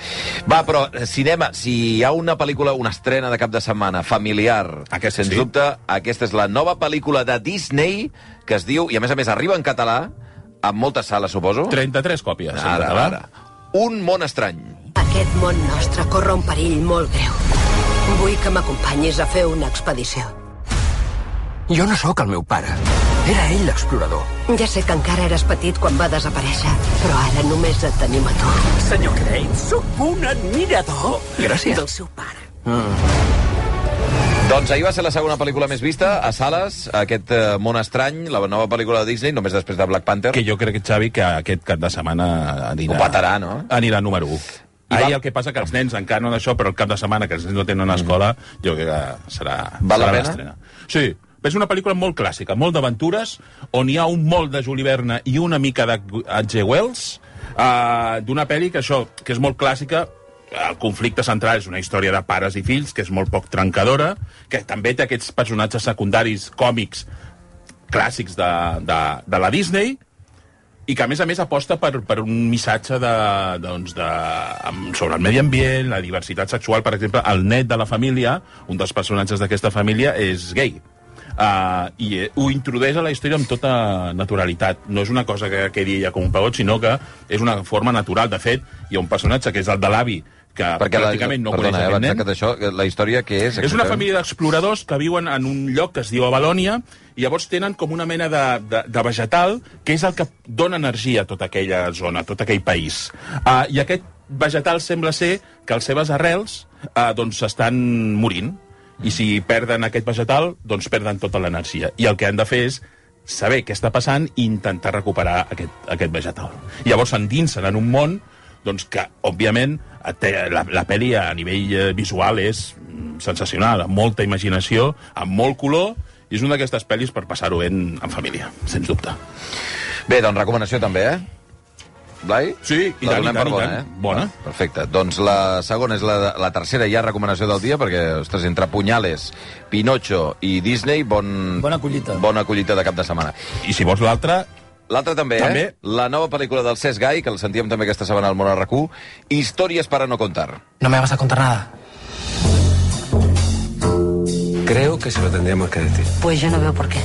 Speaker 1: Va, però eh, cinema, si hi ha una pel·lícula, una estrena de cap de setmana familiar,
Speaker 2: Aquesta
Speaker 1: sens
Speaker 2: sí.
Speaker 1: dubte, aquesta és la nova pel·lícula de Disney que es diu, i a més a més arriba en català, amb moltes sales, suposo.
Speaker 2: 33 còpies. en
Speaker 1: Ara,
Speaker 2: català.
Speaker 1: ara. Un món estrany.
Speaker 6: Aquest món nostre corre un perill molt greu. Vull que m'acompanyis a fer una expedició. Jo no sóc el meu pare. Era ell l'explorador. Ja sé que encara eres petit quan va desaparèixer, però ara només et tenim a tu. Senyor Crane, sóc un admirador Gràcies. del seu pare.
Speaker 1: Doncs ahir va ser la segona pel·lícula més vista a sales, aquest eh, món estrany, la nova pel·lícula de Disney, només després de Black Panther.
Speaker 2: Que jo crec, Xavi, que aquest cap de setmana anirà...
Speaker 1: Ho petarà, no?
Speaker 2: Anirà número 1.
Speaker 1: I
Speaker 2: I Ahir
Speaker 1: va- Mm.
Speaker 2: el que passa que els nens encara no d'això, però el cap de setmana que els nens no tenen escola, jo crec que serà,
Speaker 1: Val la
Speaker 2: serà
Speaker 1: pena?
Speaker 2: l'estrena. Sí, Però és una pel·lícula molt clàssica, molt d'aventures, on hi ha un molt de Juli Verne i una mica de H.G. Wells, uh, d'una pel·li que això, que és molt clàssica, el conflicte central és una història de pares i fills, que és molt poc trencadora, que també té aquests personatges secundaris còmics clàssics de, de, de la Disney, i que, a més a més, aposta per, per un missatge de, doncs de, amb- sobre el medi ambient, la diversitat sexual. Per exemple, el net de la família, un dels personatges d'aquesta família, és gay. Uh, I eh, ho introdueix a la història amb tota naturalitat. No és una cosa que quedi ja com un pegot, sinó que és una forma natural. De fet, hi ha un personatge que és el de l'avi, que
Speaker 1: Perquè la,
Speaker 2: pràcticament no
Speaker 1: perdona, eh,
Speaker 2: coneix aquest
Speaker 1: abans
Speaker 2: nen.
Speaker 1: de que això, la història que és...
Speaker 2: És una
Speaker 1: exactament?
Speaker 2: família d'exploradors que viuen en un lloc que es diu Avalònia i llavors tenen com una mena de, de, de vegetal que és el que dona energia a tota aquella zona, a tot aquell país. Uh, I aquest vegetal sembla ser que les seves arrels uh, doncs estan morint i si perden aquest vegetal, doncs perden tota l'energia. I el que han de fer és saber què està passant i intentar recuperar aquest, aquest vegetal. Llavors s'endinsen en un món doncs que, òbviament, té- la, la pel·li a nivell eh, visual és mm, sensacional, amb molta imaginació, amb molt color, i és una d'aquestes pel·lis per passar-ho en, en família, sens dubte.
Speaker 1: Bé, doncs recomanació també, eh? Blai?
Speaker 2: Sí, i
Speaker 1: la
Speaker 2: tant, i
Speaker 1: donem
Speaker 2: tant,
Speaker 1: per
Speaker 2: i
Speaker 1: bona,
Speaker 2: tant.
Speaker 1: eh?
Speaker 2: Bona.
Speaker 1: Va, Perfecte. Doncs la segona és la, la tercera ja recomanació del dia, perquè, ostres, entre Punyales, Pinocho i Disney, bon,
Speaker 4: Bona collita.
Speaker 1: bona collita de cap de setmana.
Speaker 2: I si vols l'altra,
Speaker 1: L'altra també,
Speaker 2: També.
Speaker 1: eh? La nova pel·lícula del Cesc Gai, que el sentíem també aquesta setmana al Món RQ, Històries para no contar.
Speaker 14: No me vas a contar nada.
Speaker 15: Creo que se lo tendríamos que decir.
Speaker 6: Pues yo no veo por qué.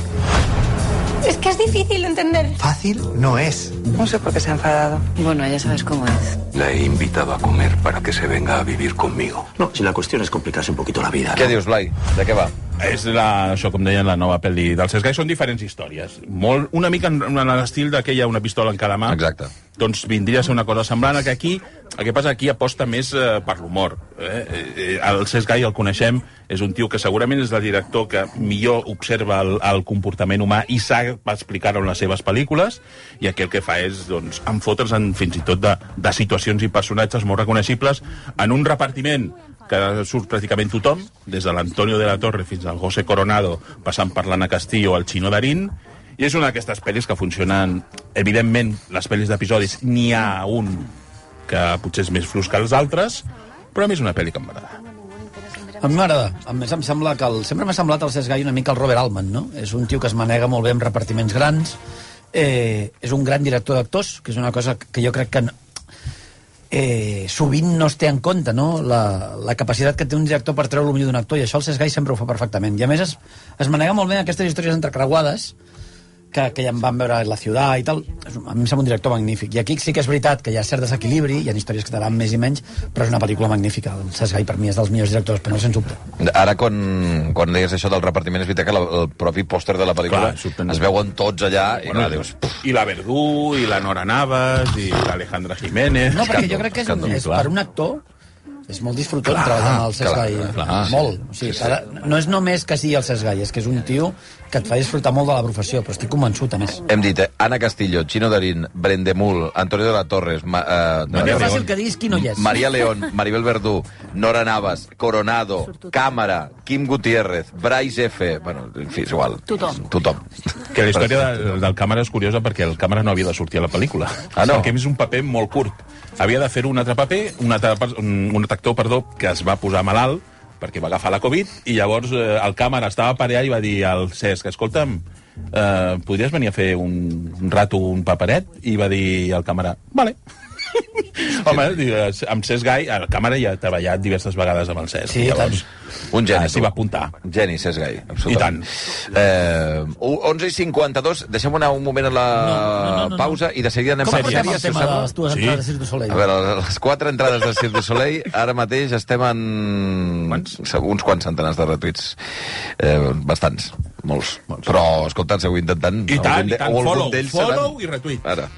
Speaker 9: Es que es difícil de entender.
Speaker 15: Fácil no es.
Speaker 9: No sé por qué se ha enfadado. Bueno, ya sabes cómo es.
Speaker 15: La he invitado a comer para que se venga a vivir conmigo. No, si la cuestión es complicarse un poquito la vida.
Speaker 1: Què dius, Blai? De què va?
Speaker 2: És la, això, com deien, la nova pel·li del Cesc Gai. Són diferents històries. Molt, una mica en, en l'estil de que hi ha una pistola en cada mà.
Speaker 1: Exacte.
Speaker 2: Doncs vindria a ser una cosa semblant, que aquí, el que passa aquí aposta més eh, per l'humor. Eh? Eh, eh, El Cesc Gai el coneixem, és un tio que segurament és el director que millor observa el, el comportament humà i sap explicar-ho en les seves pel·lícules, i aquí el que fa és doncs, enfotre's en, fins i tot de, de situacions i personatges molt reconeixibles en un repartiment que surt pràcticament tothom, des de l'Antonio de la Torre fins al José Coronado, passant per l'Anna Castillo, el Chino Darín, i és una d'aquestes pel·lis que funcionen... Evidentment, les pel·lis d'episodis n'hi ha un que potser és més fluix que els altres, però a mi és una pel·li que m'agrada.
Speaker 4: A mi m'agrada. A més, em sembla que el... sempre m'ha semblat el Cesc Gai una mica el Robert Altman, no? És un tio que es manega molt bé amb repartiments grans, eh, és un gran director d'actors, que és una cosa que jo crec que no- eh, sovint no es té en compte, no? La, la capacitat que té un director per treure el millor d'un actor, i això el Cesc Gai sempre ho fa perfectament. I a més es, es manega molt bé en aquestes històries entrecreuades, que, que ja em van veure a la ciutat i tal, és un- a mi em sembla un director magnífic. I aquí sí que és veritat que hi ha cert desequilibri, hi ha històries que t'agraden més i menys, però és una pel·lícula magnífica. El Cesc Gai per mi és dels millors directors espanyols, sens dubte.
Speaker 1: Ara, quan, quan deies això del repartiment, és veritat que la, el propi pòster de la pel·lícula
Speaker 2: Clar, surten-
Speaker 1: es veuen tots allà i,
Speaker 2: Bueno,
Speaker 1: clar, dius... puf,
Speaker 2: I la Verdú, i la Nora Navas, i l'Alejandra Jiménez...
Speaker 4: No, perquè jo crec que és, un, és per un actor és molt disfrutant clar, treballar amb el Cesc
Speaker 2: clar,
Speaker 4: Gai.
Speaker 2: clar.
Speaker 4: molt. O sigui, cada, no és només que sigui el Cesc Gai, és que és un tio que et fa disfrutar molt de la professió, però estic convençut, a més.
Speaker 1: Hem dit eh, Anna Castillo, Chino Darín, Brendemul, Antonio de la Torres, ma, eh,
Speaker 4: No és fàcil que diguis qui no hi és.
Speaker 1: María León, Maribel Verdú, Nora Navas, Coronado, Cámara, Kim Gutiérrez, Bryce F... Bueno, en fi, és igual.
Speaker 6: Tothom.
Speaker 1: Tothom.
Speaker 2: Que la història del, del càmera és curiosa perquè el càmera no havia de sortir a la pel·lícula.
Speaker 1: Ah, no?
Speaker 2: Perquè a més és un paper molt curt. Havia de fer un altre paper, un altre, per- un, un altre actor, perdó, que es va posar malalt perquè va agafar la Covid i llavors eh, el càmera estava per allà i va dir al Cesc, escolta'm, eh, podries venir a fer un, un rato, un paperet? I va dir al càmera, vale. Home, digues, amb Cesc Gai, el càmera ja ha treballat diverses vegades amb el Cesc.
Speaker 1: Sí, i tant. Un geni.
Speaker 2: Ah, S'hi va apuntar.
Speaker 1: Geni, Cesc Gai, absolutament. I tant. Eh, u- 11 i 52, deixem anar un moment a la no, no, no, pausa i de seguida anem
Speaker 4: Com
Speaker 1: per
Speaker 4: portem el
Speaker 1: sèries, si us
Speaker 4: tema de
Speaker 1: sembla?
Speaker 4: les dues
Speaker 1: Sí.
Speaker 4: entrades de Cirque du Soleil?
Speaker 1: A veure, les quatre entrades de Cirque du Soleil, ara mateix estem en... Quants? Uns quants centenars de retuits. Eh, bastants, molts. Però, escolta, seguiu intentant...
Speaker 2: I tant,
Speaker 1: algun
Speaker 2: i
Speaker 1: de-
Speaker 2: tant.
Speaker 1: o algun
Speaker 2: Follow,
Speaker 1: d'ells
Speaker 2: follow
Speaker 1: seran-
Speaker 2: i retuit.
Speaker 1: Ara.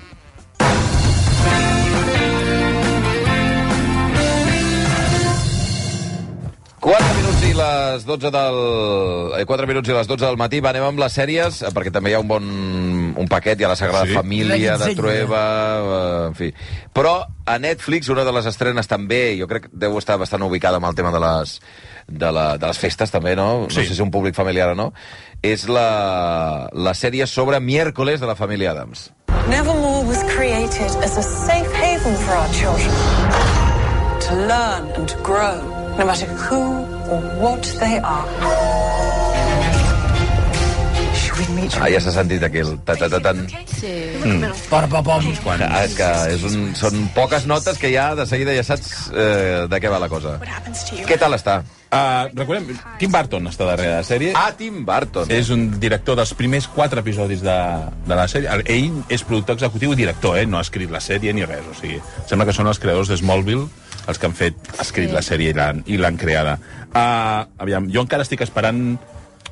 Speaker 1: Quatre minuts i les 12 del... eh, Quatre minuts i les 12 del matí. Va, anem amb les sèries, eh, perquè també hi ha un bon, un paquet, hi ha la Sagrada
Speaker 16: Sí.
Speaker 1: sí. Família, de
Speaker 16: Reguitzell.
Speaker 1: Trueba, eh, en fi. Però a Netflix, una de les estrenes també, jo crec que deu estar bastant ubicada amb el tema de les, de, la, de les festes també, no? Sí. No sé si un públic familiar o no. És la, la sèrie sobre miércoles de la família Adams.
Speaker 14: Nevermore was created as a safe haven for our children to learn and to grow, no matter who or what they are. Should we meet
Speaker 1: Ah, ja s'ha sentit aquí el ta ta ta tan Mm.
Speaker 4: Per papom.
Speaker 1: Ah, és que és un, són poques notes que ja de seguida ja saps eh, de què va la cosa. Què tal està?
Speaker 2: Uh, recordem, Tim Burton està darrere de la sèrie.
Speaker 1: Ah, Tim Burton.
Speaker 2: És un director dels primers quatre episodis de, de la sèrie. El- Ell és productor executiu i director, eh? No ha escrit la sèrie ni res. O sigui, sembla que són els creadors de Smallville els que han fet, ha escrit
Speaker 17: Sí.
Speaker 2: sí. la sèrie i l'han- i l'han creada. Uh, aviam, jo encara estic esperant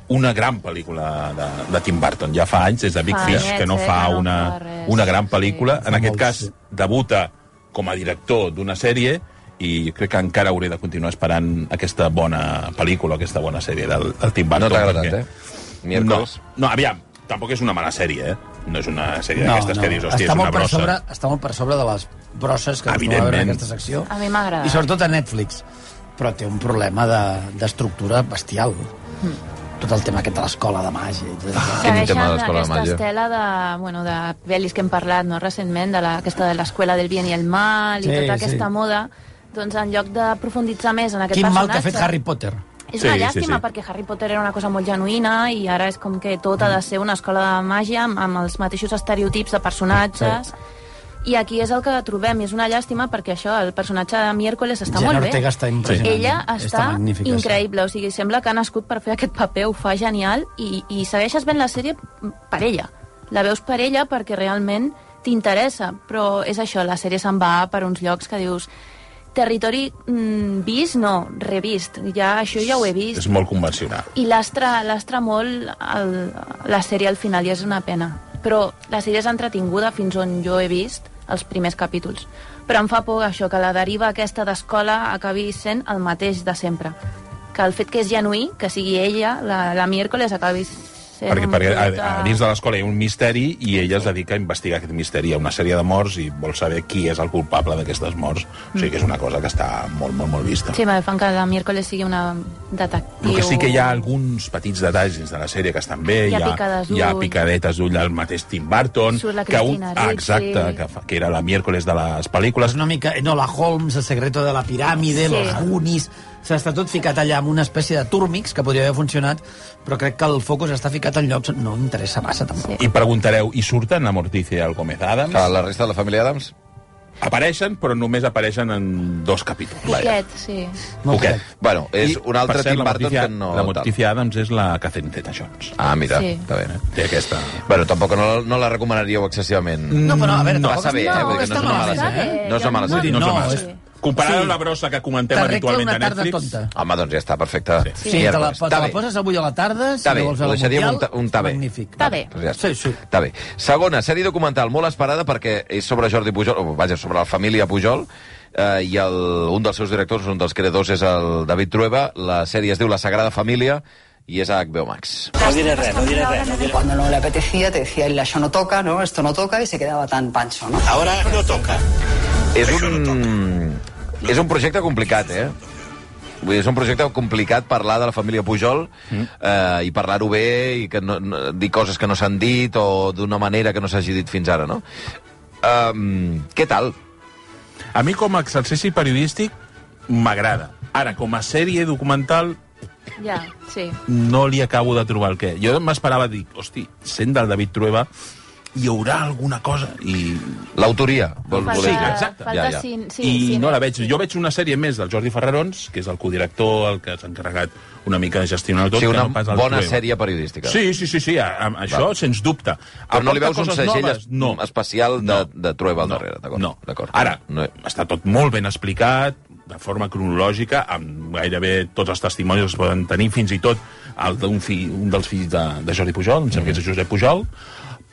Speaker 2: una gran pel·lícula de, de Tim Burton. Ja fa anys, des de Big
Speaker 17: Fa
Speaker 2: Fish,
Speaker 17: anys,
Speaker 2: que no
Speaker 17: eh,
Speaker 2: fa
Speaker 17: que no
Speaker 2: una,
Speaker 17: fa res.
Speaker 2: una gran pel·lícula. En
Speaker 17: Fa
Speaker 2: aquest
Speaker 17: molts,
Speaker 2: cas, debuta com a director d'una sèrie i crec que encara hauré de continuar esperant aquesta bona pel·lícula, aquesta bona sèrie del, del Tim Burton.
Speaker 1: No t'ha agradat,
Speaker 2: perquè-
Speaker 1: eh? Miércoles.
Speaker 2: No, no, aviam, tampoc és una mala sèrie, eh? No és una sèrie
Speaker 4: No,
Speaker 2: d'aquestes
Speaker 4: no.
Speaker 2: que dius, hòstia,
Speaker 4: està,
Speaker 2: és
Speaker 4: molt
Speaker 2: una
Speaker 4: per
Speaker 2: brossa.
Speaker 4: sobre, està molt per sobre de les brosses que acostumem a veure en
Speaker 2: Evidentment.
Speaker 4: aquesta secció.
Speaker 9: A mi m'ha agradat.
Speaker 4: I sobretot a Netflix. Però té un problema de- d'estructura bestial.
Speaker 9: Hmm.
Speaker 4: Tot el tema aquest de l'escola de màgia. i Tot ah,
Speaker 9: Segueixen aquesta estela de, bueno, de pel·lis que hem parlat no, recentment, de la, aquesta de l'escola del bien i el mal
Speaker 4: Sí,
Speaker 9: i tota
Speaker 4: sí.
Speaker 9: aquesta moda, doncs en lloc de profunditzar més en aquest
Speaker 4: Quin mal que
Speaker 9: personatge...
Speaker 4: ha fet Harry Potter.
Speaker 9: És una llàstima, perquè Harry Potter era una cosa molt genuïna i ara és com que tot ha
Speaker 4: Mm.
Speaker 9: de ser una escola de màgia amb, amb els mateixos estereotips de personatges. I aquí és el que trobem, i és una llàstima perquè això, el personatge de Miércoles està
Speaker 4: Jenna
Speaker 9: molt bé.
Speaker 4: Ortega està impressionant.
Speaker 9: Ella
Speaker 4: Està
Speaker 9: està,
Speaker 4: magnífica, sí.
Speaker 9: increïble, o sigui, sembla que ha nascut per fer aquest paper, ho fa genial, i, i segueixes ben la sèrie per ella. La veus per ella perquè realment t'interessa, però és això, la sèrie se'n va per uns llocs que dius territori mm, vist, no, revist. Ja, això ja ho he vist.
Speaker 2: És molt convencional.
Speaker 9: I lastra, lastra molt el, la sèrie al final i és una pena. Però la sèrie és entretinguda fins on jo he vist els primers capítols. Però em fa por això, que la deriva aquesta d'escola acabi sent el mateix de sempre. Que el fet que és genuí, que sigui ella, la, la miércoles acabi sent...
Speaker 2: Perquè,
Speaker 9: un
Speaker 2: perquè a,
Speaker 9: producte-
Speaker 2: a dins de l'escola hi ha un misteri i ella es dedica a investigar aquest misteri. Hi ha una sèrie de morts i vol saber qui és el culpable d'aquestes morts. O sigui que és una cosa que està molt, molt, molt vista.
Speaker 9: Sí, me fan que la miércoles sigui una detectiu...
Speaker 2: El que sí que hi ha alguns petits detalls dins de la sèrie que estan bé,
Speaker 9: Hi
Speaker 2: hi
Speaker 9: ha
Speaker 2: ha,
Speaker 9: picades
Speaker 2: hi ha
Speaker 9: d'ull.
Speaker 2: picadetes d'ull al mateix Tim Burton,
Speaker 9: Surt la
Speaker 2: que, un,
Speaker 9: Cristina
Speaker 2: ah,
Speaker 9: Ricci.
Speaker 2: exacte, que, fa- que era la miércoles de les pel·lícules.
Speaker 4: Una mica Enola Holmes, El secreto de la piràmide,
Speaker 2: Sí.
Speaker 4: sí. Los Goonies... S'està tot ficat allà amb una espècie de túrmix que podria haver funcionat, però crec que el focus està ficat en llocs on no interessa massa, tampoc.
Speaker 2: I preguntareu, i surten a Morticia i al Gómez Adams?
Speaker 1: A la resta de la família Adams?
Speaker 2: Apareixen, però només apareixen en dos capítols.
Speaker 9: Poquet, sí.
Speaker 2: Poquet.
Speaker 1: Bueno, és
Speaker 2: I,
Speaker 1: un altre
Speaker 2: per cert,
Speaker 1: Tim
Speaker 2: la
Speaker 1: Burton
Speaker 2: Morticia-
Speaker 1: que no
Speaker 2: La
Speaker 1: tal.
Speaker 2: Morticia Adams és la Catherine Zeta-Jones.
Speaker 1: Ah, mira,
Speaker 9: Sí.
Speaker 1: sí. està bé.
Speaker 2: Té aquesta...
Speaker 1: Bueno, tampoc no, no la recomanaríeu excessivament.
Speaker 4: No, però a veure,
Speaker 1: no, està
Speaker 4: tampoc
Speaker 1: bé,
Speaker 4: està-
Speaker 1: eh? Vull dir que no
Speaker 4: està
Speaker 1: és una
Speaker 4: mala
Speaker 1: mala
Speaker 4: sèrie,
Speaker 1: sèrie.
Speaker 4: eh?
Speaker 1: No és una mala
Speaker 4: Jo-
Speaker 1: sèrie.
Speaker 4: no, és-
Speaker 2: Comparada
Speaker 4: Sí.
Speaker 2: amb la brossa que comentem
Speaker 4: T'arregla
Speaker 2: habitualment
Speaker 4: una
Speaker 2: a
Speaker 4: tarda
Speaker 2: Netflix...
Speaker 4: tonta.
Speaker 1: Home, doncs ja està, perfecte.
Speaker 4: eh? Sí, sí te, la,
Speaker 1: Miércoles.
Speaker 4: te
Speaker 1: Està
Speaker 4: la
Speaker 1: bé.
Speaker 4: poses avui a la tarda, si
Speaker 1: Està bé,
Speaker 4: no vols
Speaker 1: ho
Speaker 4: veure el
Speaker 1: deixaríem
Speaker 4: Mundial...
Speaker 1: un, ta un tabé.
Speaker 4: Magnífic.
Speaker 9: Està bé.
Speaker 1: Doncs ja està. Sí, sí. Està bé. Segona, sèrie documental molt esperada perquè és sobre Jordi Pujol, o, vaja, sobre la família Pujol, eh, i el, un dels seus directors, un dels creadors, és el David Trueba. La sèrie es diu La Sagrada Família i és a HBO Max.
Speaker 18: No diré res, no diré res. Cuando no le apetecía, te decía, "Hilda, eso no toca, ¿no? Esto no toca, y se quedaba tan pancho, ¿no?
Speaker 15: Ahora no toca.
Speaker 1: És un... És un projecte complicat, eh? Vull dir, és un projecte complicat parlar de la família Pujol mm. eh, i parlar-ho bé i que no, no, dir coses que no s'han dit o d'una manera que no s'hagi dit fins ara, no? Um, què tal?
Speaker 2: A mi, com a exercici periodístic, m'agrada. Ara, com a sèrie documental,
Speaker 9: Ja, sí.
Speaker 2: no li acabo de trobar el què. Jo m'esperava dir, hosti, sent del David Trueba, hi haurà alguna cosa. I...
Speaker 1: L'autoria. Vol,
Speaker 9: Falta-
Speaker 2: sí, exacte.
Speaker 9: falta Ja, ja. cin- sí,
Speaker 2: I
Speaker 9: cine.
Speaker 2: no la veig. Jo veig una sèrie més del Jordi Ferrarons, que és el codirector, el que s'ha encarregat una mica de gestionar tot.
Speaker 1: Sí, una
Speaker 2: que no pas el
Speaker 1: bona
Speaker 2: Trueba.
Speaker 1: sèrie periodística.
Speaker 2: Sí, sí, sí, sí a, a, això,
Speaker 1: Val.
Speaker 2: sens dubte.
Speaker 1: Però no li veus un
Speaker 2: Aporta coses
Speaker 1: segell
Speaker 2: noves?
Speaker 1: es- especial de, de Trueba al darrere, d'acord?
Speaker 2: No.
Speaker 1: D'acord.
Speaker 2: Ara,
Speaker 1: No.
Speaker 2: està tot molt ben explicat, de forma cronològica, amb gairebé tots els testimonis que es poden tenir, fins i tot el d'un fill, un dels fills de, de Jordi Pujol, em sembla que és
Speaker 1: Mm.
Speaker 2: Josep Pujol,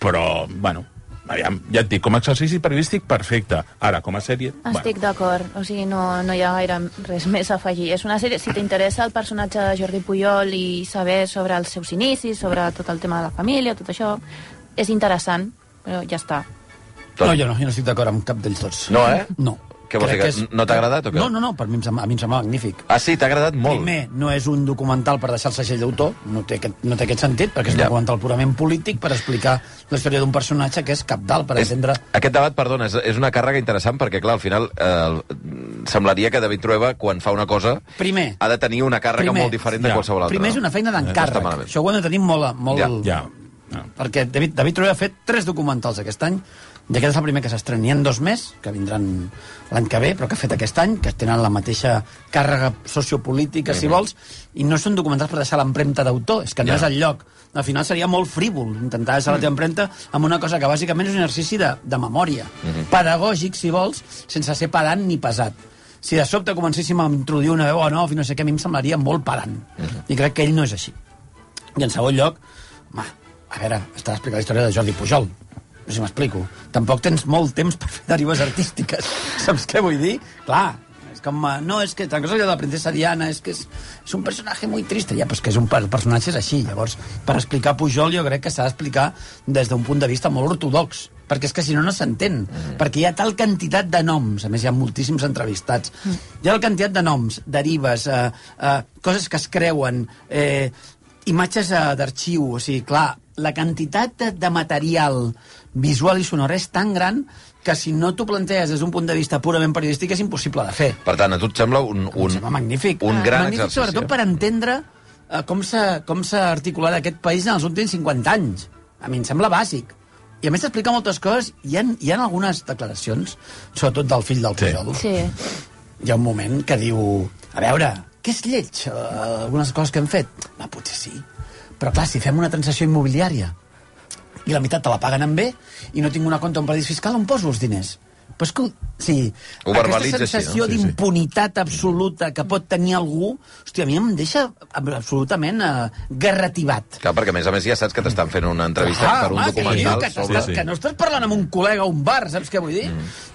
Speaker 2: però, bueno, aviam, ja et dic, com a exercici periodístic, perfecte. Ara, com a sèrie...
Speaker 9: Estic d'acord, o sigui, no, no hi ha gaire res més a afegir. És una sèrie, si t'interessa el personatge de Jordi Pujol i saber sobre els seus inicis, sobre tot el tema de la família, tot això, és interessant, però ja està.
Speaker 4: No, jo no, jo no estic d'acord amb cap d'ells tots.
Speaker 1: No, eh?
Speaker 4: No.
Speaker 1: Què vols dir,
Speaker 4: Crec
Speaker 1: que
Speaker 4: és-
Speaker 1: no t'ha agradat o què?
Speaker 4: No, no, no, per mi em sembla, a mi em sembla magnífic.
Speaker 1: Ah, sí, t'ha agradat molt.
Speaker 4: Primer, no és un documental per deixar el segell d'autor, no, té aquest, no té aquest sentit, perquè és un documental purament polític per explicar la història d'un personatge que és capdalt per entendre...
Speaker 1: Aquest debat, perdona, és, és una càrrega interessant perquè, clar, al final eh, el- semblaria que David Trueba, quan fa una cosa,
Speaker 4: Primer,
Speaker 1: ha de tenir una càrrega
Speaker 4: Primer.
Speaker 1: molt diferent de
Speaker 4: Ja.
Speaker 1: qualsevol altra.
Speaker 4: Primer és una feina d'encàrrec.
Speaker 1: No està malament.
Speaker 4: Això ho hem de tenir molt... a- molt
Speaker 1: Ja,
Speaker 4: ja. Perquè David, David Trueba ha fet tres documentals aquest any, i aquest és el primer que s'estrena. N'hi ha dos més, que vindran l'any que ve, però que ha fet aquest any, que tenen la mateixa càrrega sociopolítica, si vols, i no són documentals per deixar l'empremta d'autor, és que no
Speaker 17: Ja.
Speaker 4: és el lloc. Al final seria molt frívol intentar deixar la teva empremta amb una cosa que bàsicament és un exercici de, de memòria pedagògic, si vols, sense ser pedant ni pesat. Si de sobte comencéssim a introduir una veu o no, no sé què, a mi em semblaria molt pedant. I crec que ell no és així. I en segon lloc, home, a veure, està explicant la història de Jordi Pujol. No sé si m'explico. Tampoc tens molt temps per fer derives artístiques. Saps què vull dir? Clar, és com... eh, No, és que tant cosa allò de la princesa Diana, és que és, és un personatge molt trist. Ja, però és que és un per, el personatge és així. Llavors, per explicar Pujol jo crec que s'ha d'explicar des d'un punt de vista molt ortodox perquè és que si no, no s'entén. Perquè hi ha tal quantitat de noms, a més hi ha moltíssims entrevistats, hi ha tal quantitat de noms, derives, eh, eh, coses que es creuen, eh, imatges eh, d'arxiu, o sigui, clar, la quantitat de, de material visual i sonor és tan gran que si no t'ho plantees des d'un punt de vista purament periodístic és impossible de fer.
Speaker 1: Per tant, a tu et sembla un, un,
Speaker 4: magnífic.
Speaker 1: un gran
Speaker 4: magnífic,
Speaker 1: exercici.
Speaker 4: sobretot per entendre eh, com s'ha com s'ha articulat aquest país en els últims 50 anys. A mi em sembla bàsic. I a més explica moltes coses. Hi ha, hi ha algunes declaracions, sobretot del fill del Pujol.
Speaker 9: Sí.
Speaker 4: Hi ha un moment que diu... A veure, què és lleig? eh, algunes coses que hem fet? No, potser sí. Però clar, si fem una transacció immobiliària i la meitat te la paguen en bé i no tinc una compte en paradís fiscal, on poso els diners? Però és que, sí,
Speaker 1: Ho verbalitza
Speaker 4: aquesta
Speaker 1: així,
Speaker 4: sensació
Speaker 1: no? Sí, sí.
Speaker 4: d'impunitat absoluta que pot tenir algú, hòstia, a mi em deixa absolutament eh, garrativat.
Speaker 1: Clar, perquè a més a més ja saps que t'estan fent una entrevista
Speaker 4: Ah,
Speaker 1: per un
Speaker 4: home, que diu
Speaker 1: documental
Speaker 4: que,
Speaker 1: sobre... Mm.
Speaker 4: t'estàs- que no estàs parlant amb un col·lega a un bar, saps què vull dir?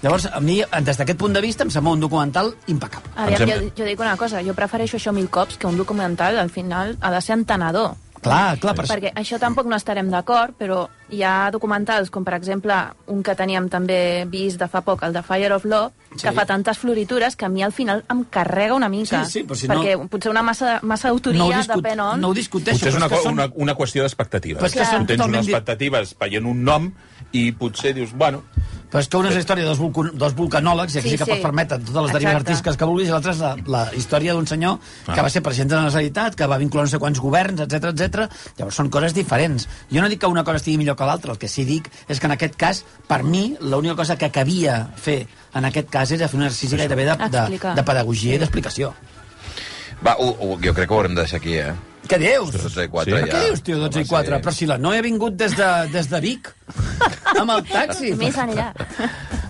Speaker 4: Llavors, a mi, des d'aquest punt de vista, em sembla un documental impecable.
Speaker 9: Aviam, jo, jo dic una cosa, jo prefereixo això mil cops que un documental al final ha de ser entenedor.
Speaker 4: Clar, clar, per...
Speaker 9: Perquè això tampoc no estarem d'acord, però hi ha documentals com, per exemple, un que teníem també vist de fa poc, el de Fire of Love, sí.
Speaker 4: Sí.
Speaker 9: que fa tantes floritures que a mi al final em carrega una mica.
Speaker 4: Sí, sí, però si no-
Speaker 9: perquè potser una massa, massa autoria
Speaker 2: No ho
Speaker 4: discut-
Speaker 9: depèn on...
Speaker 4: no ho discuteixo,
Speaker 2: Potser és
Speaker 4: però
Speaker 2: una,
Speaker 4: és que
Speaker 2: co-
Speaker 4: són-
Speaker 2: una, una qüestió d'expectatives.
Speaker 4: Però és que són
Speaker 2: Tu tens
Speaker 4: totalment
Speaker 2: unes
Speaker 4: di-
Speaker 2: expectatives veient un nom i potser dius, bueno...
Speaker 4: Però és que una és la història dels, vulcan dels vulcanòlegs, i
Speaker 2: Sí,
Speaker 4: aquí sí, que
Speaker 2: sí.
Speaker 4: pots permetre totes les derives
Speaker 2: Exacte.
Speaker 4: artístiques que vulguis, i l'altra és la, la història d'un senyor
Speaker 2: Ah.
Speaker 4: que va ser president de la Generalitat, que va vincular no sé quants governs, etc etc. Llavors són coses diferents. Jo no dic que una cosa estigui millor que l'altra, el que sí dic és que en aquest cas, per mi, l'única cosa que cabia fer en aquest cas era fer un exercici gairebé de, de,
Speaker 9: Explicar.
Speaker 4: de pedagogia i d'explicació.
Speaker 1: Va, ho, ho, jo crec que ho haurem de deixar aquí, eh?
Speaker 4: Què dius?
Speaker 1: 12 i
Speaker 4: Sí?
Speaker 1: 4 ja.
Speaker 4: Què dius, tio, 12 i 4? Però si la noia ha vingut des de, des de Vic amb el taxi.
Speaker 9: Més enllà.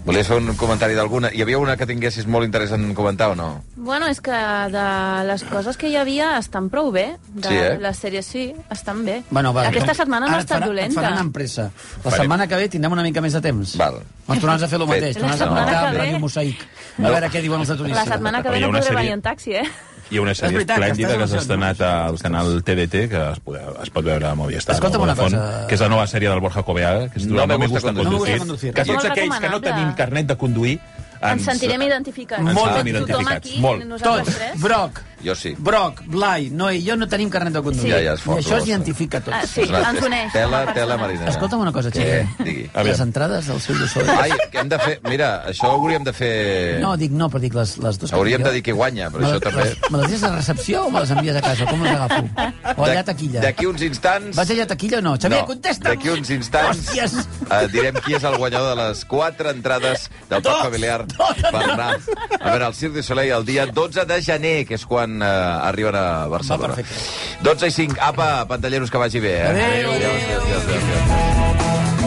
Speaker 1: Volies fer un comentari d'alguna? Hi havia una que tinguessis molt interessant en comentar o no?
Speaker 9: Bueno, és que de les coses que hi havia estan prou bé. De
Speaker 1: Sí, eh?
Speaker 9: Les sèries sí, estan bé.
Speaker 4: Bueno, va,
Speaker 9: Aquesta
Speaker 4: doncs,
Speaker 9: setmana no
Speaker 4: ara
Speaker 9: ha
Speaker 4: et
Speaker 9: estat
Speaker 4: farà- Et
Speaker 9: dolenta.
Speaker 4: faran amb pressa. La
Speaker 1: Farem.
Speaker 4: setmana que ve tindrem una mica més de temps.
Speaker 1: Val.
Speaker 4: Doncs tornaràs a fer el
Speaker 1: Fet.
Speaker 4: mateix.
Speaker 9: La
Speaker 4: Tornaràs a
Speaker 9: setmana
Speaker 4: comentar
Speaker 9: que
Speaker 4: amb
Speaker 9: ve-
Speaker 4: Ràdio Mosaic. A
Speaker 2: No.
Speaker 4: veure què diuen els de Tunísia.
Speaker 9: La setmana que
Speaker 2: Però
Speaker 9: ve
Speaker 2: hi ha
Speaker 9: no
Speaker 2: una
Speaker 9: podré
Speaker 2: sèrie-
Speaker 9: venir en taxi, eh?
Speaker 2: Hi ha una
Speaker 4: És
Speaker 2: sèrie
Speaker 4: veritat, que
Speaker 2: esplèndida
Speaker 4: estàs
Speaker 2: que s'ha
Speaker 4: emocionat,
Speaker 2: estrenat al canal TDT, que es, poder, es pot veure a Movistar.
Speaker 4: Escolta'm
Speaker 2: o
Speaker 4: una
Speaker 2: Vodafone,
Speaker 4: cosa.
Speaker 2: que és la nova sèrie del Borja Cobeaga, que es diu
Speaker 1: No
Speaker 2: No
Speaker 1: me
Speaker 2: me
Speaker 1: gusta
Speaker 2: gusta
Speaker 1: conducir.
Speaker 2: conducir,
Speaker 1: No me gusta
Speaker 2: que
Speaker 9: conducir.
Speaker 2: tots
Speaker 9: Molt
Speaker 2: aquells que no
Speaker 9: recomanable.
Speaker 2: tenim carnet de conduir eh,
Speaker 9: Ens sentirem identificats.
Speaker 2: ens
Speaker 9: Molt
Speaker 2: sentim
Speaker 9: bé. Tothom
Speaker 2: identificats,
Speaker 9: aquí,
Speaker 2: molt.
Speaker 9: nosaltres
Speaker 4: Tots,
Speaker 9: tres.
Speaker 4: Broc,
Speaker 1: Jo sí.
Speaker 4: Broc, Blai, Noi i jo no tenim carnet de conduir.
Speaker 1: Sí. Ja, ja, és fort,
Speaker 4: I això
Speaker 1: ho
Speaker 4: es identifica a tots.
Speaker 9: Ah, sí,
Speaker 1: És una-
Speaker 9: ens uneix.
Speaker 1: Tela,
Speaker 9: com a
Speaker 1: tela,
Speaker 9: persones.
Speaker 1: Marina.
Speaker 4: Escolta'm una cosa, Xavier.
Speaker 1: Què? Digui.
Speaker 4: Les entrades del seu Lluçó.
Speaker 1: Ai, que hem de fer... Mira, això ho hauríem de fer...
Speaker 4: No, dic no, però dic les, les dues. que
Speaker 1: Hauríem
Speaker 4: tinc
Speaker 1: de
Speaker 4: jo.
Speaker 1: dir qui guanya, però
Speaker 4: Me
Speaker 1: això
Speaker 4: les-
Speaker 1: també...
Speaker 4: les- Me les dius a recepció o me les envies a casa? Com les agafo? O allà a taquilla?
Speaker 1: D'aquí uns instants...
Speaker 4: Vas allà a taquilla o no? Xavier,
Speaker 1: No,
Speaker 4: contesta'm!
Speaker 1: D'aquí uns instants
Speaker 4: Hòsties!
Speaker 1: eh, direm qui és el guanyador de les quatre entrades del
Speaker 4: Dos!
Speaker 1: Parc Familiar
Speaker 4: Dos!
Speaker 1: per anar a veure el Cirque du Soleil el dia 12 de gener, que és quan eh, arriben a Barcelona. 12 i 5. Apa, pantalleros, que vagi bé. Eh?
Speaker 4: Adéu.
Speaker 1: adéu, adéu, adéu.